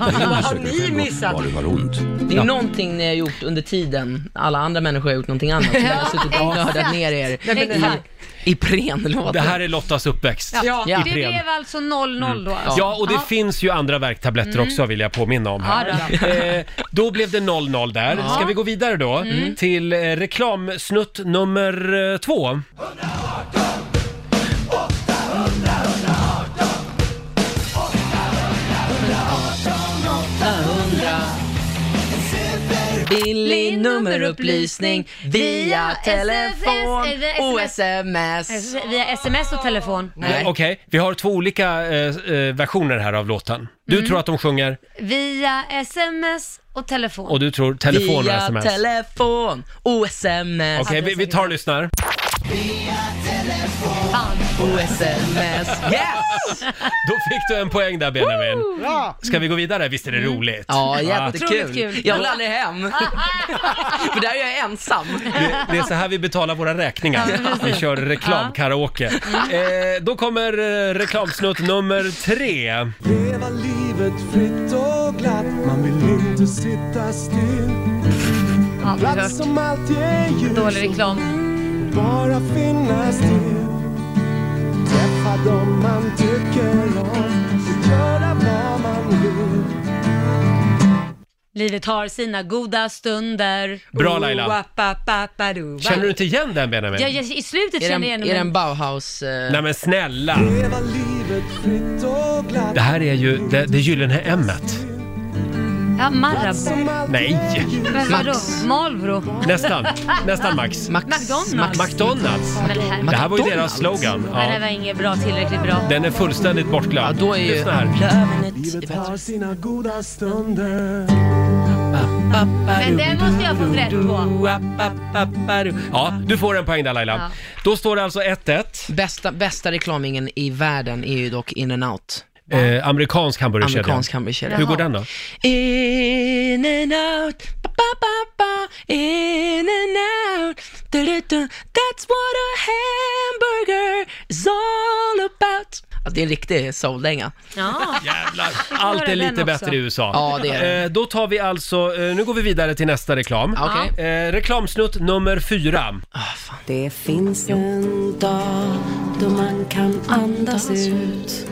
B: *laughs* Vad har ni missat?
H: Var du har ont.
J: Det är någonting ni har gjort under tiden, alla andra människor har gjort någonting annat, som ni har suttit och nördat ner er
B: men det här-
J: i Ipren-låten.
A: Det här är Lottas uppväxt.
B: Ja.
J: Ja.
D: Det blev alltså 0-0 då. alltså.
A: Ja, och det finns ju andra värktabletter också vill jag påminna om här.
D: Ja,
A: Eh, då blev det 0-0 där. Ska vi gå vidare då till eh, reklamsnutt nummer eh, två?
J: Billig nummerupplysning via telefon
D: eh,
J: och sms.
D: Via sms och telefon.
A: Eh, Okej, vi har två olika eh, eh, versioner här av låten. Du
J: Mm.
A: tror att de sjunger
D: Via sms och telefon.
A: och du tror telefon och
J: Via
A: sms.
J: telefon och sms.
A: Okej, vi, vi tar och lyssnar. *laughs*
D: Fan.
J: Och sms. Yes!
A: Då fick du en poäng där Benjamin. Ska vi gå vidare? Visst är det roligt?
J: Mm.
B: Ah.
J: Ja,
D: Otroligt
J: jättekul.
D: kul.
J: Jag vill aldrig
B: *laughs*
J: hem. För där är jag ensam.
A: Det, det är så här vi betalar våra räkningar. Vi kör reklamkaraoke. Eh, då kommer eh, reklamsnutt nummer tre.
C: Leva livet fritt och glatt Man vill inte sitta still
D: Aldrig hört.
C: Plats som alltid är ljus
D: Dålig reklam.
C: och Bara finnas till Träffa dem man tycker om och Göra vad man vill
D: Livet har sina goda stunder.
A: Bra, Laila.
D: Ooh-wa-pa-pa-pa-do-wa.
A: Känner du inte igen den Benjamin?
D: Ja, jag, I slutet
J: Är
D: känner
J: den,
D: jag igen
J: är den
D: men-
J: Bauhaus... eh,
A: Nej men snälla!
C: Leva livet fritt och glatt
A: Det här är ju det, det gyllene ämnet.
D: Ja, Marabou.
A: Nej!
D: Men vadå? Marlboro?
A: Nästan, nästan max.
J: Max,
D: McDonald's.
J: Max,
A: McDonalds.
D: Men det här,
A: Det här var ju deras
J: McDonald's?
A: slogan.
D: Nej, det här
A: Ja.
D: var inget bra, tillräckligt bra.
A: Den är fullständigt
J: Ja,
A: bortglömd.
J: då är ju...
A: Lyssna här.
J: Lövenet är
C: Livet
J: bättre.
C: har sina goda stunder
D: Men den måste jag få rätt på.
A: Ja, du får en poäng där Laila.
D: Ja.
A: Då står det alltså 1-1.
J: Bästa, bästa reklamingen i världen är ju dock in and out.
A: Eh, amerikansk hamburgerkedja.
J: Amerikansk hamburgerkedja.
A: Hur går den då?
J: In and out, ba, ba, ba, ba. in and out. Du, du, du. That's what a hamburger is all about. Ja, det är en riktig souldänga.
D: Ja.
A: Jävlar.
D: kan
A: Allt
D: höra
A: är
D: den
A: lite
D: också.
A: bättre i USA.
J: Ja, det är det.
A: Eh, då tar vi alltså, eh, nu går vi vidare till nästa reklam.
J: Ja, Okej.
A: Eh, reklamsnutt nummer fyra.
K: Det finns en dag då man kan andas ut.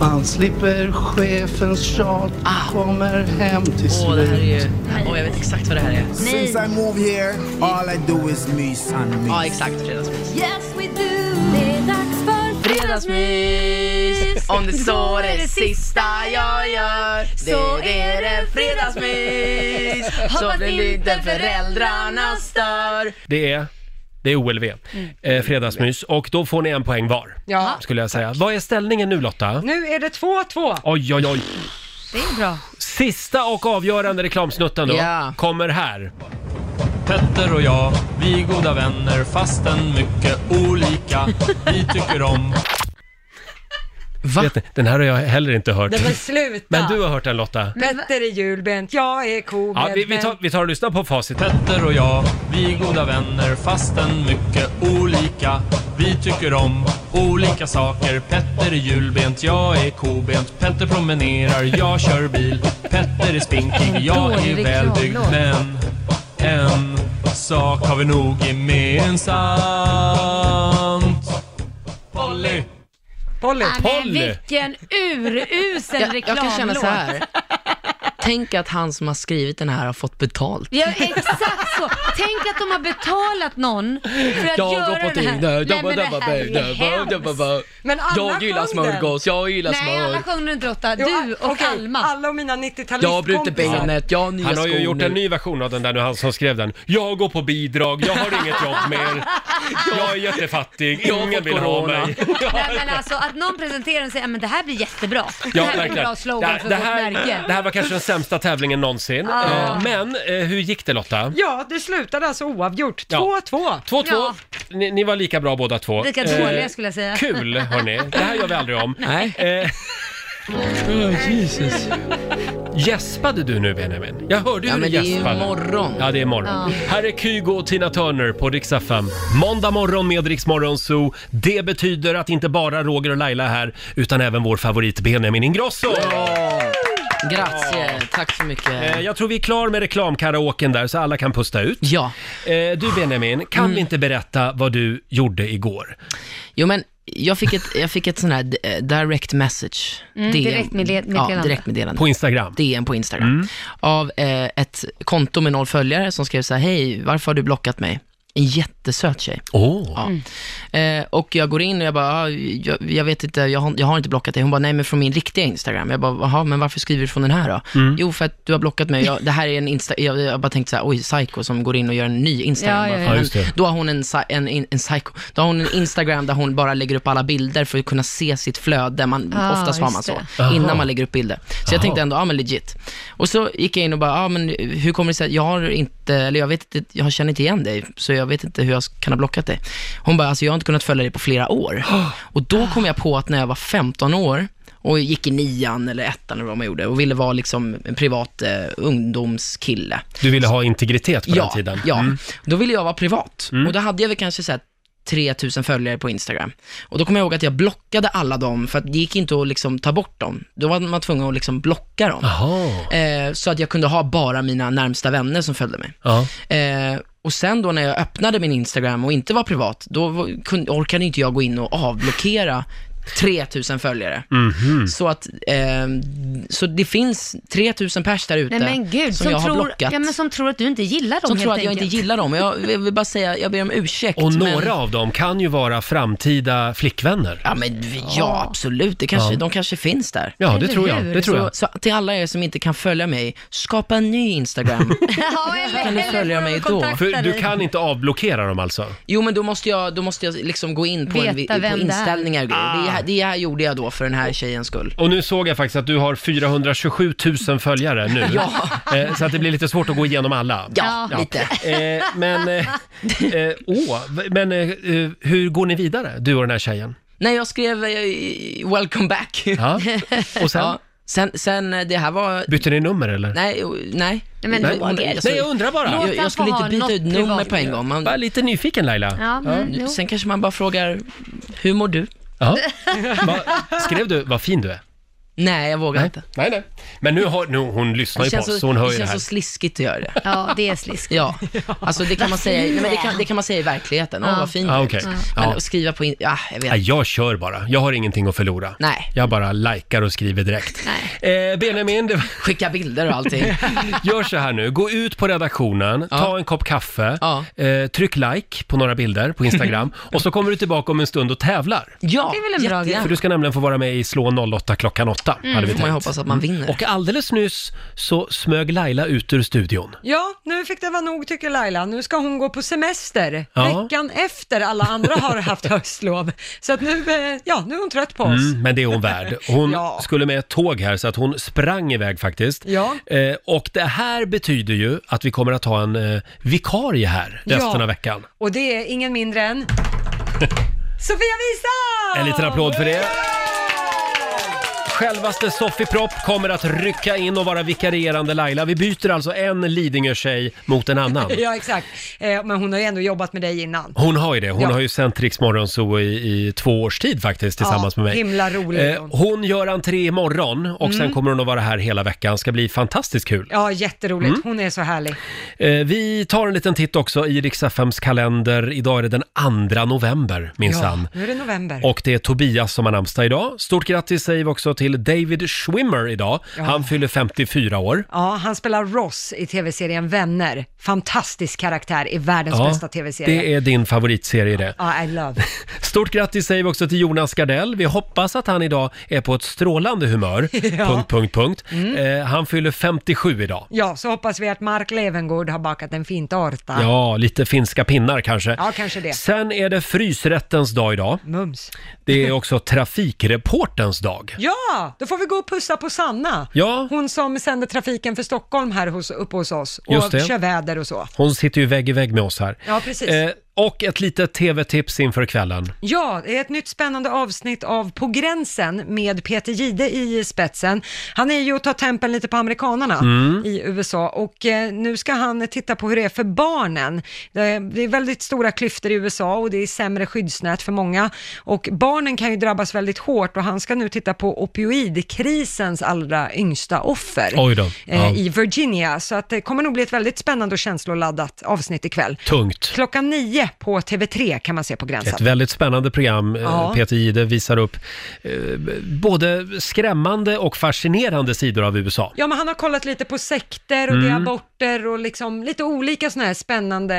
E: Man slipper chefens tjat och kommer hem till
J: Ah. Åh, det här är ju... Åh, jag vet exakt vad det här är.
D: Nej.
L: I move here, all I do is mys and mys.
J: Ja, exakt. Fredagsmys.
K: Yes we do. Det är dags för
J: Fredagsmys! Om det så är det sista jag gör
D: Så
J: så är det fredagsmys! Så
D: Hoppas
J: blir inte
D: inte
J: föräldrarna
D: föräldrarna
J: stör.
A: Det är, det är OLV.
D: Mm.
A: Eh, fredagsmys. Och då får ni en poäng var,
B: Ja.
A: skulle jag säga. Vad är ställningen nu Lotta?
B: Nu är det 2-2.
A: Oj, oj, oj.
D: Det är bra.
A: Sista och avgörande reklamsnutten då
J: Ja.
A: kommer här.
M: Petter och jag, vi är goda vänner fastän mycket olika. Vi tycker om...
A: Vet ni, den här har jag heller inte hört.
B: Det var sluta.
A: Men du har hört den Lotta?
B: Petter är julbent, jag är kobent.
A: Ja, vi, vi, tar, vi tar och lyssnar på facit.
M: Petter och jag, vi är goda vänner fastän mycket olika. Vi tycker om olika saker. Petter är julbent, jag är kobent. Petter promenerar, jag kör bil. Petter är spinkig, jag är
D: Dålig
M: välbyggd.
D: reklamlåt.
M: Men en sak har vi nog gemensamt. Polly!
B: Polly.
D: Nej, men
A: Polly.
D: vilken *laughs* urusel
J: Jag, jag
D: reklamlåt.
J: kan känna så här. Tänk att han som har skrivit den här har fått betalt.
D: Ja, exakt så. Tänk att de har betalat någon för att göra det här. Nej, men det här är ju hemskt.
B: Men alla
J: Jag gillar
B: sjöng den.
J: smörgås, jag gillar
D: Nej, alla
J: smör.
D: sjunger inte Lotta.
B: Jo,
D: Du
B: a-
D: och
B: okej,
D: Alma.
B: Alla och mina 90-talistkompisar.
J: Jag har brutit benet, jag har nya
A: Han har
J: skor
A: ju gjort
J: nu.
A: en ny version av den där nu, han som skrev den. Jag går på bidrag, jag har inget jobb
D: *laughs*
A: mer. Jag är jättefattig,
J: Jag har
A: ingen
J: fått
A: vill ha
J: corona.
A: mig.
D: Nej, men alltså att någon presenterar och säger "Ja, men det här blir jättebra. Det
A: Ja,
D: här blir en
A: verkligen.
D: bra slogan
A: Det,
D: för
A: det,
D: vårt
A: här,
D: märke.
A: det här var kanske den sämsta tävlingen någonsin.
D: Ja.
A: Eh, Men eh, hur gick det Lotta?
B: Ja, det slutade alltså oavgjort. 2-2.
A: Ja. 2-2.
D: Ja.
A: Ni, ni var lika bra båda två.
D: Lika
A: Eh,
D: dåliga skulle jag säga.
A: Kul hörni, det här gör vi aldrig om.
J: Nej.
A: Eh,
J: Jesus.
A: gäspade du nu Benjamin? Jag hörde ju
J: Ja,
A: hur du
J: men det är ju
A: gäspade.
J: morgon.
A: Ja, det är morgon. Här är Kygo och Tina Turner på Rix FM. Måndag morgon med Rix Morgon Zoo. Det betyder att inte bara Roger och Laila är här, utan även vår favorit Benjamin Ingrosso.
J: Grazie, tack så mycket.
A: Eh, Jag tror vi är klar med reklamkaraoken där, så alla kan pusta ut.
J: Ja, Mm.
A: Eh, Du Benjamin, kan vi inte berätta vad du gjorde igår?
J: jo men jag fick ett, jag fick ett sån här eh, direct message.
D: Mm,
J: DM.
D: direktmeddelande.
J: Ja, direktmeddelande.
A: På Instagram?
J: DM på Instagram. Av eh, ett konto med noll följare som skrev så här, hej, varför har du blockat mig? En jättesöt tjej.
A: Åh!
J: Ja. Eh, och jag går in och jag bara, ah, jag, jag vet inte, jag har, jag har inte blockat dig. Hon bara, nej men från min riktiga Instagram. Jag bara, jaha, men varför skriver du från den här då?
A: Mm.
J: Jo, för att du har blockat mig. Jag, det här är en Insta, jag, jag bara tänkte så här, oj, psycho som går in och gör en ny Instagram.
D: Ja, ja,
J: bara,
D: ja.
A: Ja,
J: Men
A: just det.
J: då har hon en, psy- en, en, en psycho, då har hon en Instagram där hon bara lägger upp alla bilder för att kunna se sitt flöde. Man,
D: Ah,
J: oftast har man
D: just
J: så,
D: det.
A: Aha.
J: innan man lägger upp bilder. Så jag
A: Aha.
J: tänkte ändå, ja men legit. Och så gick jag in och bara, ja men hur kommer det sig att jag har inte, eller jag vet inte, jag känner inte igen dig, så jag vet inte hur jag kan ha blockat dig. Hon bara, alltså jag har inte kunnat följa dig på flera år. Och då kom jag på att när jag var 15 år och gick i nian eller ettan eller vad man gjorde och ville vara liksom en privat eh, ungdomskille.
A: Du ville ha integritet på den *gasps* tiden?
J: Ja,
A: Mm.
J: då ville jag vara privat. Och då hade jag väl kanske så här 3000 följare på Instagram. Och då kommer jag ihåg att jag blockade alla dem, för att det gick inte att liksom ta bort dem. Då var man tvungen att liksom blocka dem. Eh, så att jag kunde ha bara mina närmsta vänner som följde mig. Eh, och sen då när jag öppnade min Instagram och inte var privat, då var- kunde, orkade inte jag gå in och avblockera 3000 följare. Så att, eh, så det finns 3000 pers där ute
D: Nej men gud,
J: som, jag
D: tror,
J: har blockat.
D: Ja, men som tror att du inte gillar dem
J: Som
D: helt
J: tror att jag
D: enkelt.
J: inte gillar dem. Jag vill bara säga, jag ber om ursäkt.
A: Och några
J: men...
A: av dem kan ju vara framtida flickvänner.
J: Ja, men ja, absolut. Det kanske,
A: Ja.
J: De kanske finns där.
A: Ja, det Eller tror jag. hur? Det tror jag.
J: Så, så till alla er som inte kan följa mig, skapa en
D: *laughs*
J: ny Instagram.
D: ja, eller,
J: Kan ni
D: eller
J: följa
D: får
J: mig
D: de
J: då?
D: kontakta
A: För du
D: dig?
A: kan inte avblockera dem alltså?
J: jo, men då måste jag, då måste jag liksom gå in på, en, vi-
D: Veta vem
J: på
D: det är.
J: inställningar och grejer. Det, här, det här gjorde jag då för den här tjejens skull.
A: Och nu såg jag faktiskt att du har 427 000 följare nu.
J: *laughs* Ja.
A: Eh, Så att det blir lite svårt att gå igenom alla.
J: Ja, lite.
A: Eh, Men,
J: *laughs*
A: eh, eh, åh, men eh, eh, hur går ni vidare, du och den här tjejen?
J: Nej, jag skrev eh, “Welcome back”. *laughs*
A: Ja. Och sen?
J: sen? Sen, eh, det här var...
A: Bytte ni nummer eller?
J: Nej, o- nej.
D: Nej, men Roger.
A: Nej, jag undrar bara.
J: Jag, jag skulle inte byta ut nummer på en gång. Man,
A: Bara lite nyfiken Laila.
D: Ja, men, jo.
J: Sen kanske man bara frågar, hur mår du?
A: Ja. *laughs* Va, skrev du vad fin du är?
J: Nej, jag vågar
A: Nej.
J: inte.
A: Nej, nej. Men nu har, nu, hon lyssnar ju på oss, så hon hör
J: det
A: ju det
J: känns
A: här.
J: så sliskigt att göra det.
D: Ja, det är sliskigt.
J: Ja,
D: *laughs*
J: alltså det kan man säga, nej, men det kan, det kan man säga i verkligheten. Åh,
D: Ja.
J: vad fint
A: Ah,
J: du är.
A: okej.
J: Mm. Men
A: Ja.
J: att skriva på, in- ja, jag vet.
A: Nej, jag kör bara. Jag har ingenting att förlora.
J: Nej.
A: Jag bara likar och skriver direkt. Eh, Benjamin, det...
J: *laughs* skicka bilder och allting.
A: *laughs* Gör så här nu, gå ut på redaktionen, ta en kopp kaffe, eh, tryck like på några bilder på
J: *laughs*
A: Instagram och så kommer du tillbaka om en stund och tävlar.
J: Ja,
D: Det är väl en bra
J: jättegärna.
A: För du ska nämligen få vara med i Slå 08 klockan 8,
D: Mm.
A: hade vi
D: Får man
A: tänkt.
D: ju
J: hoppas att man vinner.
A: Och alldeles nyss så smög Laila ut ur studion.
B: Ja, nu fick det vara nog tycker Laila. Nu ska hon gå på semester
A: Ja.
B: veckan efter alla andra har haft höstlov. Så att nu, eh, ja, nu är hon trött på oss.
A: Mm, men det är hon värd. *laughs* Hon
B: Ja.
A: skulle med ett tåg här så att hon sprang iväg faktiskt.
B: Ja.
A: Eh, och det här betyder ju att vi kommer att ha en eh, vikarie här resten
B: Ja.
A: av veckan.
B: Och det är ingen mindre
A: *laughs*
B: än Sofia Wisa!
A: En liten applåd för det. Självaste Sofie Propp kommer att rycka in och vara vikarierande Laila. Vi byter alltså en Lidingö-tjej mot en annan.
B: Ja, exakt. Eh, Men hon har ju ändå jobbat med dig innan.
A: Hon har ju det. Hon
B: Ja.
A: har ju sänt Rix Morgonzoo i, i två års tid faktiskt tillsammans
B: Ja,
A: med mig.
B: himla rolig är
A: Eh,
B: hon.
A: hon gör entré imorgon och sen
B: Mm.
A: kommer hon att vara här hela veckan. Ska bli fantastiskt kul.
B: Ja, jätteroligt.
A: Mm.
B: Hon är så härlig.
A: Eh, vi tar en liten titt också i Rix FMs kalender. Idag är det den 2 november minsann.
B: Ja, nu är det november.
A: Och det är Tobias som har namnsdag idag. Stort grattis säger vi också till David Schwimmer idag.
B: Ja.
A: Han fyller 54 år.
B: Ja, han spelar Ross i tv-serien Vänner. Fantastisk karaktär i världens bästa tv-serie.
A: det är din favoritserie det.
B: Ja, I love.
A: Stort grattis säger vi också till Jonas Gardell. Vi hoppas att han idag är på ett strålande
B: *laughs*
A: humör. Punkt, punkt, punkt.
B: Mm.
A: Eh, han fyller 57 idag.
B: Ja, så hoppas vi att Mark Levengård har bakat en fint arta.
A: Ja, lite finska pinnar kanske.
B: Ah. Ja, kanske det.
A: Sen är det frysrättens dag idag.
B: Mums.
A: Det
B: *laughs*
A: är också trafikreporterns dag.
B: Ja, då får vi gå och pussa på Sanna.
A: Ja.
B: Hon som sänder trafiken för Stockholm här hos, uppe hos oss och
A: Just det.
B: kör väder och så.
A: Hon sitter ju vägg i vägg med oss här.
B: Ja, precis.
A: Eh, och ett litet tv-tips inför kvällen.
B: Ja, det är ett nytt spännande avsnitt av På gränsen med Peter Gide i spetsen. Han är ju och tar tempen lite på amerikanarna
N: Mm.
B: i USA och eh, nu ska han titta på hur det är för barnen. Det det är väldigt stora klyftor i USA och det är sämre skyddsnät för många och barnen kan ju drabbas väldigt hårt och han ska nu titta på opioidkrisens allra yngsta offer
A: Oj då.
B: eh,
A: Ja.
B: i Virginia. Så att det kommer nog bli ett väldigt spännande och känsloladdat avsnitt ikväll.
A: Tungt.
B: Klockan nio på TV3 kan man se På gränsen.
A: Ett väldigt spännande program. Eh,
B: Ja.
A: Peter Jihde visar upp eh, både skrämmande och fascinerande sidor av USA.
B: Ja, men han har kollat lite på sekter och det är
A: Mm.
B: aborter och liksom lite olika sådana här spännande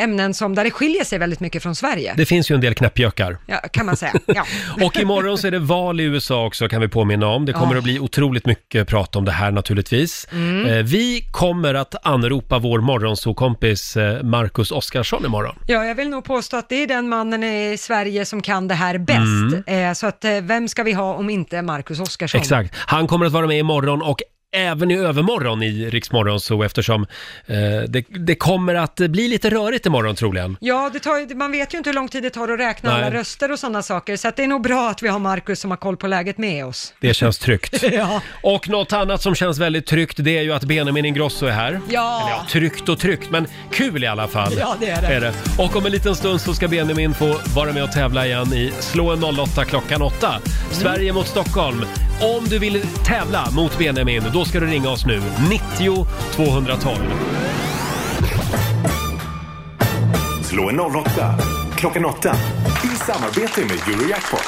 B: ämnen som där det skiljer sig väldigt mycket från Sverige.
A: Det finns ju en del knäppjökar.
B: Ja, kan man säga.
A: *laughs*
B: Ja.
A: Och imorgon så är det val i USA också kan vi påminna om. Det kommer
B: Ja.
A: att bli otroligt mycket prat om det här naturligtvis.
B: Mm.
A: Eh, Vi kommer att anropa vår morgonsokompis eh, Marcus Oskarsson imorgon.
B: ja, jag vill nog påstå att det är den mannen i Sverige som kan det här
A: Mm.
B: bäst. Eh, så att eh, vem ska vi ha om inte Marcus Oskarsson?
A: Exakt. Han kommer att vara med imorgon och även i övermorgon i Riksmorgon så eftersom eh, det, det kommer att bli lite rörigt imorgon troligen.
B: Ja, det tar, ju- man vet ju inte hur lång tid det tar att räkna
A: Nej.
B: alla röster och sådana saker, så att det är nog bra att vi har Markus som har koll på läget med oss.
A: Det känns
C: *laughs*
A: tryggt.
B: Ja.
A: Och något annat som känns väldigt tryggt det är ju att Benjamin Ingrosso är här.
B: Ja.
A: Eller ja, tryggt och tryggt, men kul i alla fall.
C: Ja, det är det.
A: Och om en liten stund så ska Benjamin få vara med och tävla igen i Slå en 08 klockan 8. Sverige mot Stockholm. Om du vill tävla mot Benjamin, då ska du ringa oss nu. 90 212.
H: Slå en 08 klockan 8 i samarbete med Eurojackpot.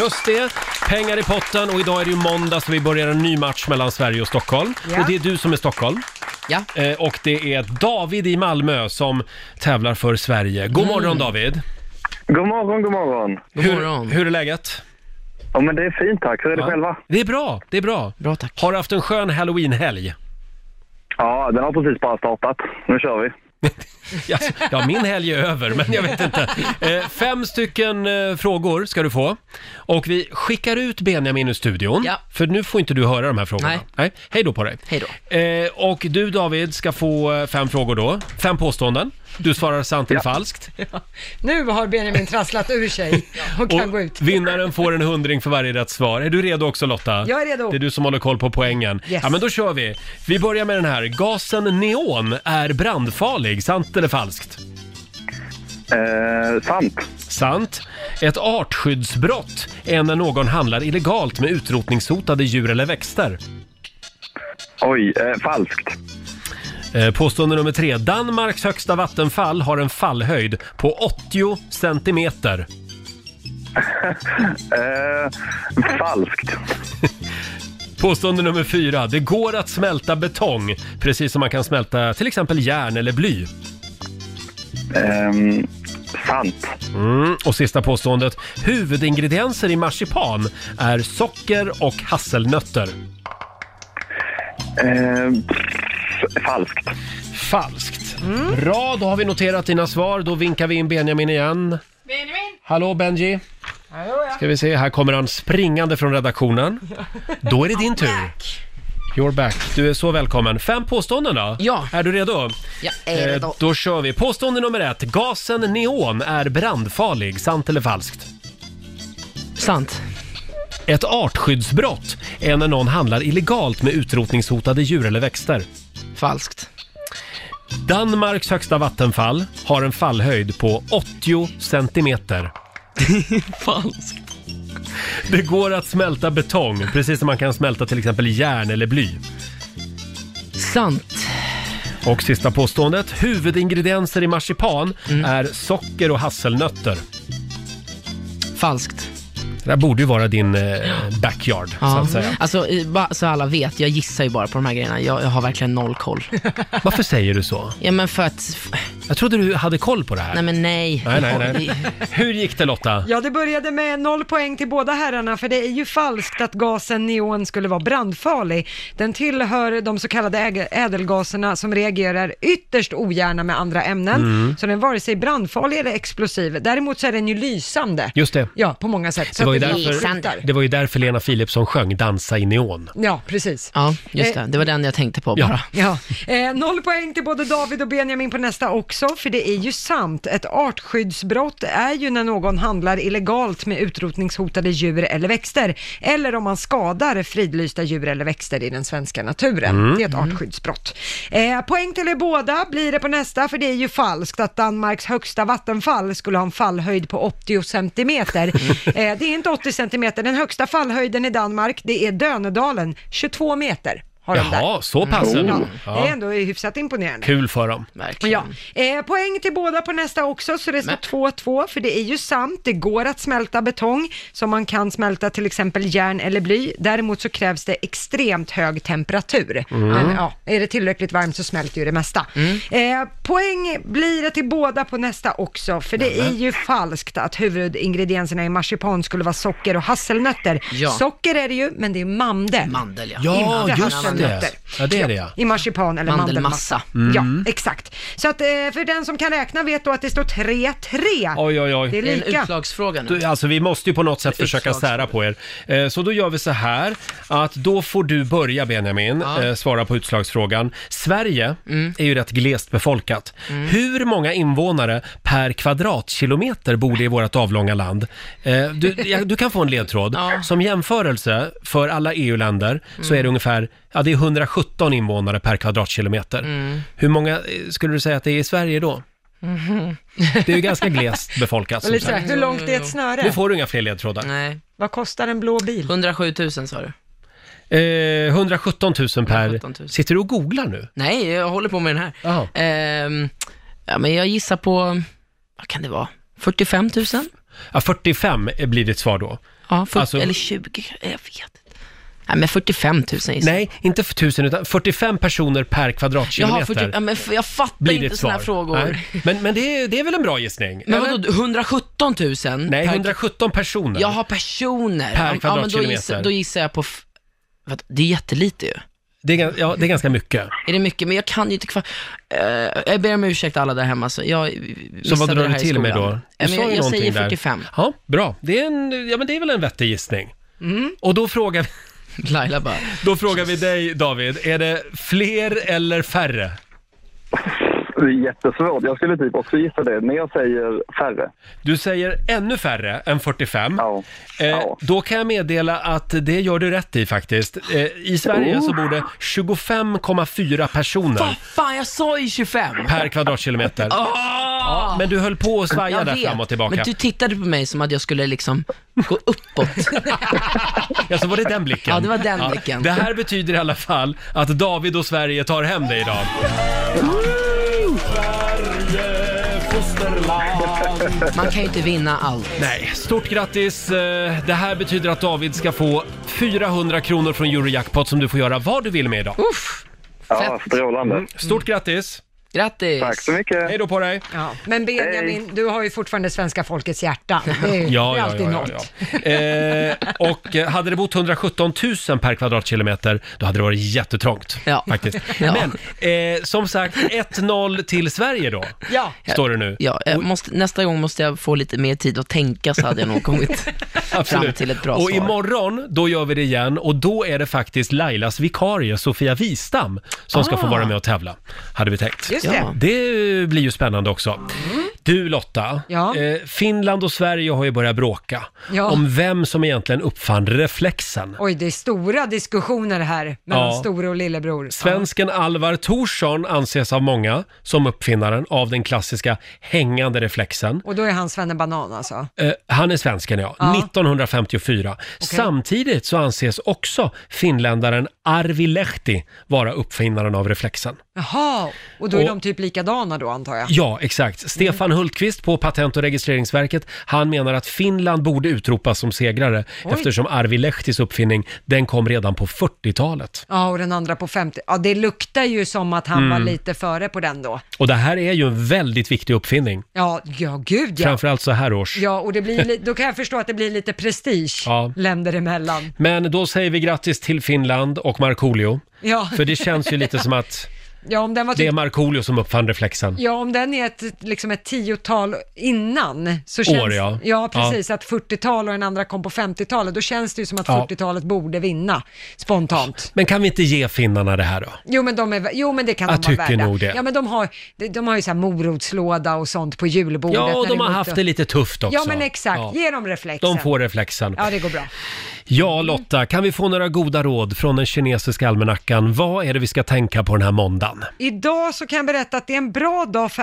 A: Just det, pengar i potten och idag är det ju måndag så vi börjar en ny match mellan Sverige och Stockholm.
J: Ja.
A: Och det är du som är Stockholm.
J: Ja.
A: Eh, Och det är David i Malmö som tävlar för Sverige. God
N: Mm.
A: morgon David!
N: God morgon, god morgon.
A: Hur, hur är läget?
N: Ja, men det är fint tack. Hur är det
A: Ja.
N: själva?
A: Det är bra, det är bra.
J: Bra tack.
A: Har du haft en skön halloweenhelg?
N: Ja, den har precis bara startat. Nu kör vi.
A: Jaså, Alltså, Ja, min helg är över, men jag vet inte. Eh, Fem stycken eh, frågor ska du få. Och vi skickar ut Benjamin ur studion,
J: Ja.
A: för nu får inte du höra de här frågorna.
J: Nej.
A: Hej då på dig.
J: Hej då.
A: Eh, och du David ska få eh, fem frågor då, fem påståenden. Du svarar sant eller falskt.
B: Nu har Benjamin trasslat
A: *laughs*
B: ur sig och kan gå ut.
A: Vinnaren får en hundring för varje rätt svar. Är du redo också Lotta?
B: Jag är redo.
A: Det är du som håller koll på poängen.
B: Yes.
A: Ja, men då kör vi. Vi börjar med den här. Gasen neon är brandfarlig, sant eller falskt?
N: Eh, sant.
A: Sant. Ett artskyddsbrott är när någon handlar illegalt med utrotningshotade djur eller växter.
N: Oj, eh, falskt.
A: Eh, Påstående nummer tre. Danmarks högsta vattenfall har en fallhöjd på 80 centimeter.
N: Eh, falskt.
A: Påstående nummer fyra. Det går att smälta betong, precis som man kan smälta till exempel järn eller bly.
N: Ehm, sant.
A: Mm. Och sista påståendet. Huvudingredienser i marsipan är socker och hasselnötter.
N: Ehm, f- falskt.
A: Falskt.
J: Mm.
A: Bra, då har vi noterat dina svar. Då vinkar vi in Benjamin igen.
C: Benjamin!
A: Hallå Benji! Ska vi se, här kommer han springande från redaktionen. Då är det din tur. You're back. Du är så välkommen. Fem påståenden då? Ja. Är du redo?
J: Jag är
A: Eh,
J: redo.
A: Då kör vi. Påstående nummer ett. Gasen neon är brandfarlig. Sant eller falskt?
J: Sant.
A: Ett artskyddsbrott är när någon handlar illegalt med utrotningshotade djur eller växter.
J: Falskt.
A: Danmarks högsta vattenfall har en fallhöjd på 80 centimeter.
J: *laughs* Falskt.
A: Det går att smälta betong, precis som man kan smälta till exempel järn eller bly.
J: Sant.
A: Och sista påståendet. Huvudingredienser i marsipan
J: Mm.
A: är socker och hasselnötter.
J: Falskt.
A: Det där borde ju vara din eh, backyard, så
J: Ja.
A: att säga.
J: Alltså, i- bara så alla vet, jag gissar ju bara på de här grejerna. Jag, jag har verkligen noll koll.
A: Varför säger du så?
J: Ja, men för att...
A: Jag trodde du hade koll på det här.
J: Nej, men nej.
A: Nej, nej, nej. Hur gick det Lotta?
B: Ja, det började med noll poäng till båda herrarna, för det är ju falskt att gasen neon skulle vara brandfarlig. Den tillhör de så kallade äg- ädelgaserna som reagerar ytterst ogärna med andra ämnen,
A: Mm.
B: så den är vare sig brandfarlig eller explosiv. Däremot så är den ju lysande.
A: Just det.
B: Ja, på många sätt.
A: Det
B: Så
A: var, ju
B: att det blir
A: därför,
B: skjutar.
A: det var ju därför Lena Philipsson sjöng Dansa i neon.
B: Ja, precis.
J: Ja, just
B: Eh,
J: det. Det var den jag tänkte på bara.
B: Ja. Eh, noll poäng till både David och Benjamin på nästa också, för det är ju sant. Ett artskyddsbrott är ju när någon handlar illegalt med utrotningshotade djur eller växter, eller om man skadar fridlysta djur eller växter i den svenska naturen.
C: Mm.
B: Det är ett artskyddsbrott. Eh, poäng till er båda blir det på nästa, för det är ju falskt att Danmarks högsta vattenfall skulle ha en fallhöjd på 80
C: *laughs*
B: centimeter. eh, det är inte 80 centimeter, den högsta fallhöjden i Danmark, det är Dönedalen, 22 meter. Har de
A: Jaha,
B: där.
A: så pass
B: Mm.
A: ändå.
B: Ja, det
A: Ja.
B: är ändå hyfsat imponerande.
A: Oh. Kul för dem.
B: Ja. Eh, poäng till båda på nästa också, så det står 2-2, för det är ju sant, det går att smälta betong, som man kan smälta till exempel järn eller bly. Däremot så krävs det extremt hög temperatur.
C: Mm.
B: Men ja, är det tillräckligt varmt så smälter ju det mesta. Eh, poäng blir det till båda på nästa också, för det är ju falskt att huvudingredienserna i marsipan skulle vara socker och hasselnötter.
J: Ja.
B: Socker är det ju, men det är mandel.
J: Mandel, ja.
B: Inte
J: Ja, just
B: nötter.
A: Ja, det är det ja.
B: I marsipan eller
A: Mandelmassa.
B: mandelmassa.
A: Mm.
B: Ja, exakt. Så att eh, för den som kan räkna vet då att det står 3-3.
A: Oj, oj, oj.
B: Det är lika.
J: utslagsfråga
A: Du, alltså vi måste ju på något sätt försöka sära på er. Eh, Så då gör vi så här att då får du börja Benjamin,
J: Ja.
A: eh, svara på utslagsfrågan. Sverige
B: Mm.
A: är ju rätt glest befolkat. Hur många invånare per kvadratkilometer bor det i vårt avlånga land? Eh, Du, ja, du kan få en
B: *laughs*
A: ledtråd. Som jämförelse för alla EU-länder så är det
J: Mm.
A: ungefär ja, det är 117 invånare per kvadratkilometer.
J: Mm.
A: Hur många eh, skulle du säga att det är i Sverige då?
J: Mhm.
A: Det är ju ganska glest befolkat. som
B: Mm. *laughs* Eller så här,
A: sagt.
B: hur långt är ett snöre?
A: Nu får du inga fler ledtrådar.
J: Nej.
B: Vad kostar en blå bil?
J: 107 000 sa du?
A: Eh, 117 000 per... Sitter du och googlar nu?
J: Nej, jag håller på med den här. Ehm, ja, men jag gissar på, vad kan det vara, 45 000?
A: Ja, 45 blir ditt svar då.
J: Ja, 40,
A: Alltså-
J: eller 20, jag vet inte. Nej, men 45 000 gissar jag.
A: Nej, inte 1000 utan 45 personer per kvadratkilometer.
J: Jaha, 40, ja, men f- jag fattar
A: blir
J: inte
A: ditt
J: sådana
A: svar.
J: här frågor.
A: Nej. Men, men det, är, det är väl en bra gissning?
J: Men
A: Eller?
J: vadå, 117 000?
A: Nej,
J: per-
A: 117 personer.
J: Jaha, personer.
A: Per
J: Ja, Ja, men då,
A: kvadratkilometer.
J: gissar, då gissar jag på... f- vad- Det är jättelite ju.
A: Det är, gan- ja, det är ganska mycket.
J: Är det mycket? Men jag kan ju inte kvar... Eh, jag ber om ursäkt alla där hemma. Så, jag
A: Så vad
J: missade
A: drar
J: det
A: du
J: här i
A: till med
J: skolan.
A: då?
J: Ja, men
A: sa ju
J: jag jag
A: någonting
J: säger
A: där.
J: 45.
A: Ja, bra. Det är, en, ja, men det är väl en vettig gissning. Och då frågar vi...
J: Mm. *laughs* Laila bara...
A: Då frågar vi dig, David. Är det fler eller färre?
N: Det är jättesvårt. Jag skulle typ också gissa det, men jag säger färre.
A: Du säger ännu färre än 45. Eh, Då kan jag meddela att det gör du rätt i faktiskt. Eh, I Sverige
J: Oh.
A: så bor det 25,4 personer
J: Fan, jag sa ju 25!
A: per kvadratkilometer. Ja, men du höll på att svaja
J: Ah. Jag
A: där
J: vet,
A: fram och tillbaka.
J: Men du tittade på mig som att jag skulle liksom gå uppåt.
A: *laughs* Ja, så Alltså, var det den blicken.
J: Ja, det var den blicken.
A: Det här betyder i alla fall att David och Sverige tar hem det idag.
J: Man kan ju inte vinna allt.
A: Nej, stort grattis! Eh, Det här betyder att David ska få 400 kronor från Eurojackpot som du får göra vad du vill med idag.
J: Uff,
N: Ja, strålande.
A: Mm. Stort grattis!
J: Grattis!
N: Tack så mycket.
A: Hej då på dig!
B: Ja. Men Benjamin, du har ju fortfarande svenska folkets hjärta. Det är,
A: Ja,
B: det är
A: ja,
B: alltid
A: ja,
B: något.
A: ja, ja. Eh, och eh, hade det bott 117 000 per kvadratkilometer, då hade det varit jättetrångt.
J: Ja.
A: Faktiskt.
J: *laughs* Ja.
A: Men eh, som sagt, 1-0 till Sverige då,
B: Ja.
A: står det nu.
J: Ja, jag måste, nästa gång måste jag få lite mer tid att tänka så hade jag
N: *laughs*
J: nog kommit fram till ett bra
A: och
J: svar.
A: imorgon, då gör vi det igen och då är det faktiskt Lailas vikarie, Sofia Wistam, som ska få
J: Ah.
A: vara med och tävla, hade vi tänkt.
J: Just det. Mm. Ja.
A: Det blir ju spännande också. Du Lotta, eh, Finland och Sverige har ju börjat bråka
B: Ja.
A: om vem som egentligen uppfann reflexen.
B: Oj, det är stora diskussioner här mellan
A: Ja.
B: store och lillebror.
A: Svensken Alvar Thorsson anses av många som uppfinnaren av den klassiska hängande reflexen.
B: Och då är han Svenne Banan alltså.
A: Eh, han är svensken ja,
B: Ja.
A: 1954. Samtidigt så anses också finländaren Arvi Lehti vara uppfinnaren av reflexen.
B: Jaha, och då är
A: Och-
B: de typ likadana då antar jag?
A: Ja,
B: Mm.
A: exakt. Stefan Hultqvist på Patent och registreringsverket, han menar att Finland borde utropas som segrare
B: Oj.
A: eftersom Arvi Lehtis uppfinning, den kom redan på 40-talet.
B: Ja, och den andra på 50. Ja, det luktar ju som att han
A: Mm.
B: var lite före på den då.
A: Och det här är ju en väldigt viktig uppfinning,
B: Ja, ja gud ja.
A: framförallt så här års.
B: Ja, och det blir, li- då kan jag förstå att det blir lite prestige
A: Ja.
B: länder emellan.
A: Men då säger vi grattis till Finland och Markoolio.
B: Ja.
A: För det känns ju lite som
B: *laughs*
A: att
B: Ja, om den var
A: det är
B: typ,
A: Markoolio som uppfann reflexen.
B: ja, om den är ett, liksom ett tiotal innan så
A: År,
B: känns...
A: ja.
B: Ja, precis. Att 40-tal och den andra kom på 50-talet, då känns det ju som att
A: Ja.
B: 40-talet borde vinna spontant.
A: Men kan vi inte ge finnarna det här då?
B: Jo men, de är, jo men det kan
A: Jag
B: de vara
A: tycker
B: värda.
A: nog det.
B: Ja men de har, de, de har ju så här morotslåda och sånt på julbordet.
A: Ja, och
B: när
A: de har
B: går
A: haft
B: ut
A: det lite tufft också.
B: Ja men exakt,
A: Ja.
B: ge dem reflexen.
A: De får reflexen.
B: Ja det går bra.
A: Ja, Lotta, kan vi få några goda råd från den kinesiska almanackan? Vad är det vi ska tänka på den här måndagen?
B: Idag så kan jag berätta att det är en bra dag för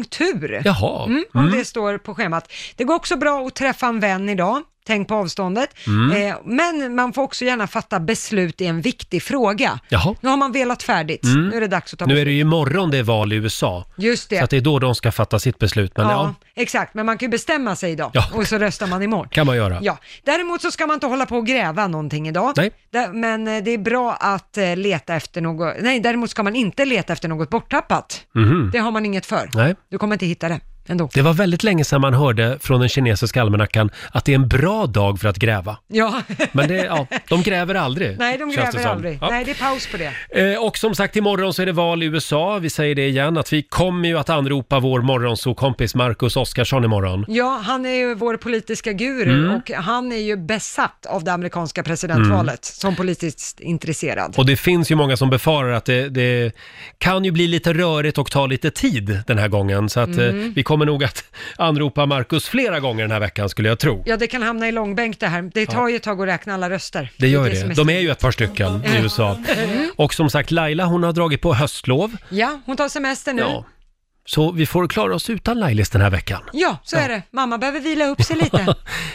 B: akupunktur.
A: Jaha.
B: Mm, om
A: Mm.
B: det står på schemat. Det går också bra att träffa en vän idag. Tänk på avståndet.
A: Mm.
B: Eh, men man får också gärna fatta beslut i en viktig fråga.
A: Jaha.
B: Nu har man velat färdigt.
A: Mm.
B: Nu är det dags att ta
A: Nu är
B: beslut.
A: det ju imorgon det är val i USA.
B: Just det.
A: Så att det är då de ska fatta sitt beslut. Men ja,
B: ja, exakt. Men man kan ju bestämma sig idag
A: Ja.
B: och så röstar man imorgon.
A: kan man göra.
B: Ja, däremot så ska man inte hålla på och gräva någonting idag.
A: Nej.
B: Dä- Men eh, det är bra att eh, leta efter något, nej däremot ska man inte leta efter något borttappat.
A: Mhm.
B: Det har man inget för.
A: Nej.
B: Du kommer inte hitta det. ändå.
A: Det var väldigt länge sedan man hörde från den kinesiska almanackan att det är en bra dag för att gräva.
B: Ja.
A: Men det, ja, de gräver aldrig.
B: *laughs* Nej, de
A: känns det
B: gräver
A: som.
B: aldrig.
A: Ja.
B: Nej, det är paus på det.
A: Eh, Och som sagt, imorgon så är det val i USA. Vi säger det igen, att vi kommer ju att anropa vår morgonsokompis Marcus Oskarsson imorgon.
B: Ja, han är ju vår politiska guru
A: Mm.
B: och han är ju besatt av det amerikanska presidentvalet
A: Mm.
B: som politiskt intresserad.
A: Och det finns ju många som befarar att det, det kan ju bli lite rörigt och ta lite tid den här gången. Så att eh,
B: Mm.
A: vi kommer nog att *laughs* anropa Marcus flera gånger den här veckan skulle jag tro.
B: Ja, det kan hamna i långbänk det här. Det tar ju ett tag att räkna alla röster.
A: Det gör
B: som
A: det. De är ju ett par stycken i USA.
B: Mm.
A: Och som sagt, Laila hon har dragit på höstlov.
B: Ja, hon tar semester nu.
A: Ja.
B: Ja,
A: Så vi får klara oss utan Lailis den här veckan.
B: så är det. Mamma behöver vila upp sig
A: *laughs*
B: lite.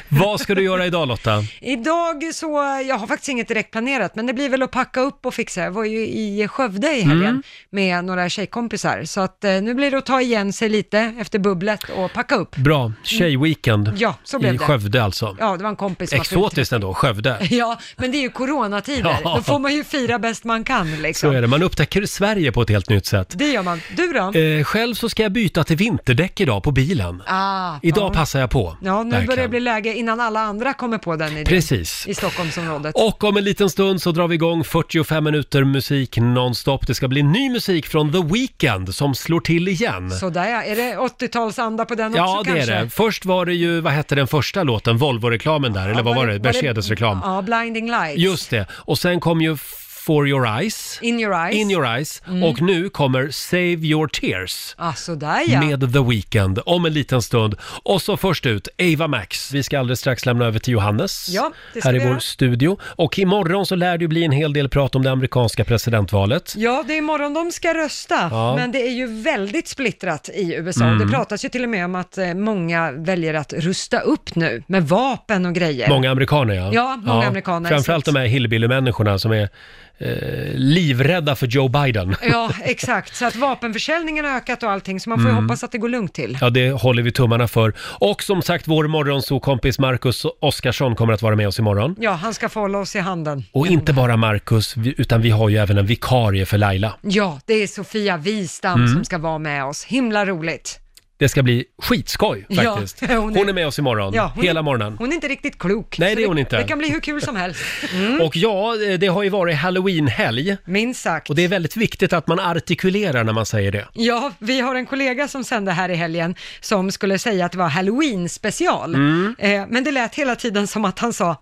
A: Vad ska du göra idag Lotta?
B: Idag så, jag har faktiskt inget direkt planerat, men det blir väl att packa upp och fixa. Jag var ju i Skövde i helgen
A: Mm.
B: med några tjejkompisar, så att eh, nu blir det att ta igen sig lite efter bubblet och packa upp.
A: Bra, tjejweekend
B: Mm. Ja, så blev
A: i
B: det.
A: Skövde alltså.
B: Ja, det var en kompis som har fyllt-
A: Exotiskt ändå, Skövde.
B: *laughs* Ja, men det är ju coronatider.
A: Ja.
B: Då får man ju fira bäst man kan liksom.
A: Så är det, man upptäcker Sverige på ett helt nytt sätt.
B: Det gör man. Du då?
A: Eh, själv så ska jag byta till vinterdäck idag på bilen.
B: ah,
A: Idag
B: ja.
A: passar jag på.
B: Ja, nu
A: verkligen.
B: börjar det bli läge innan alla andra kommer på den idén.
A: Precis.
B: I Stockholmsområdet.
A: Och om en liten stund så drar vi igång 45 minuter musik nonstop. Det ska bli ny musik från The Weeknd som slår till igen.
B: Sådär ja, är det 80-talsanda på den
A: Ja,
B: också
A: det är
B: kanske?
A: det. Först var det ju, vad hette den första låten, Volvo-reklamen där, eller vad var det? Mercedes-reklam.
B: Ja, Blinding Lights.
A: Just det. Och sen kom ju For Your Eyes.
B: In your eyes.
A: In Your Eyes.
B: Mm.
A: Och nu kommer Save Your Tears.
B: Ah, sådär ja.
A: Med The Weeknd om en liten stund. Och så först ut, Ava Max. Vi ska alldeles strax lämna över till Johannes
B: Ja, det ska
A: här i
B: vi
A: vår
B: göra.
A: studio. Och imorgon så lär det ju bli en hel del prat om det amerikanska presidentvalet.
B: Ja, det är imorgon de ska rösta,
A: Ja.
B: men det är ju väldigt splittrat i USA.
A: Mm.
B: Det pratas ju till och med om att eh, många väljer att rusta upp nu med vapen och grejer.
A: Många amerikaner ja.
B: Ja, många amerikaner.
A: Framförallt de här hillbilly-människorna som är eh, livrädda för Joe Biden.
B: Ja, exakt. Så att vapenförsäljningen har ökat och allting, så man får ju
A: Mm.
B: hoppas att det går lugnt till.
A: Ja, det håller vi tummarna för. Och som sagt, vår morgonsokompis Marcus Oskarsson kommer att vara med oss imorgon.
B: Ja, han ska få hålla oss i handen.
A: Och inte bara Marcus, vi- utan vi har ju även en vikarie för Laila.
B: Ja, det är Sofia Wistam
A: Mm.
B: som ska vara med oss. Himla roligt.
A: Det ska bli skitskoj
B: Ja,
A: faktiskt.
B: *laughs* hon
A: hon,
B: är-
A: är... med oss imorgon,
B: Ja, hon är-
A: hela morgonen.
B: Hon är inte riktigt klok.
A: Nej,
B: så
A: det är hon inte.
B: Det kan bli hur kul
A: *laughs*
B: som helst. Mm.
A: Och ja, eh, det har ju varit halloween-helg.
B: Minst sagt.
A: Och det är väldigt viktigt att man artikulerar när man säger det.
B: Ja, vi har en kollega som sände här i helgen som skulle säga att det var halloween special.
A: Mm.
B: Eh, men det lät hela tiden som att han sa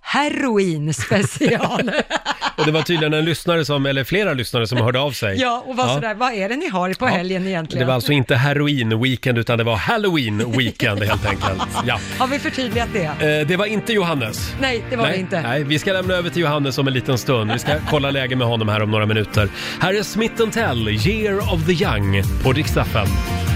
A: *laughs*
B: heroin special.
A: Och det var tydligen en lyssnare som, eller flera lyssnare som hörde av sig.
B: *laughs* ja, och var sådär, vad är det ni har på helgen egentligen?
A: Det var alltså inte heroin-weekend utan det var halloween-weekend helt
B: *laughs*
A: enkelt. Ja.
B: Har vi förtydligat det?
A: Eh, Det var inte Johannes.
B: Nej, det var
A: nej,
B: det inte.
A: Nej, vi ska lämna över till Johannes om en liten stund. Vi
B: *laughs*
A: ska kolla läget med honom här om några minuter. Här är Smith Tell, Year of the Young, på Dixtaffen.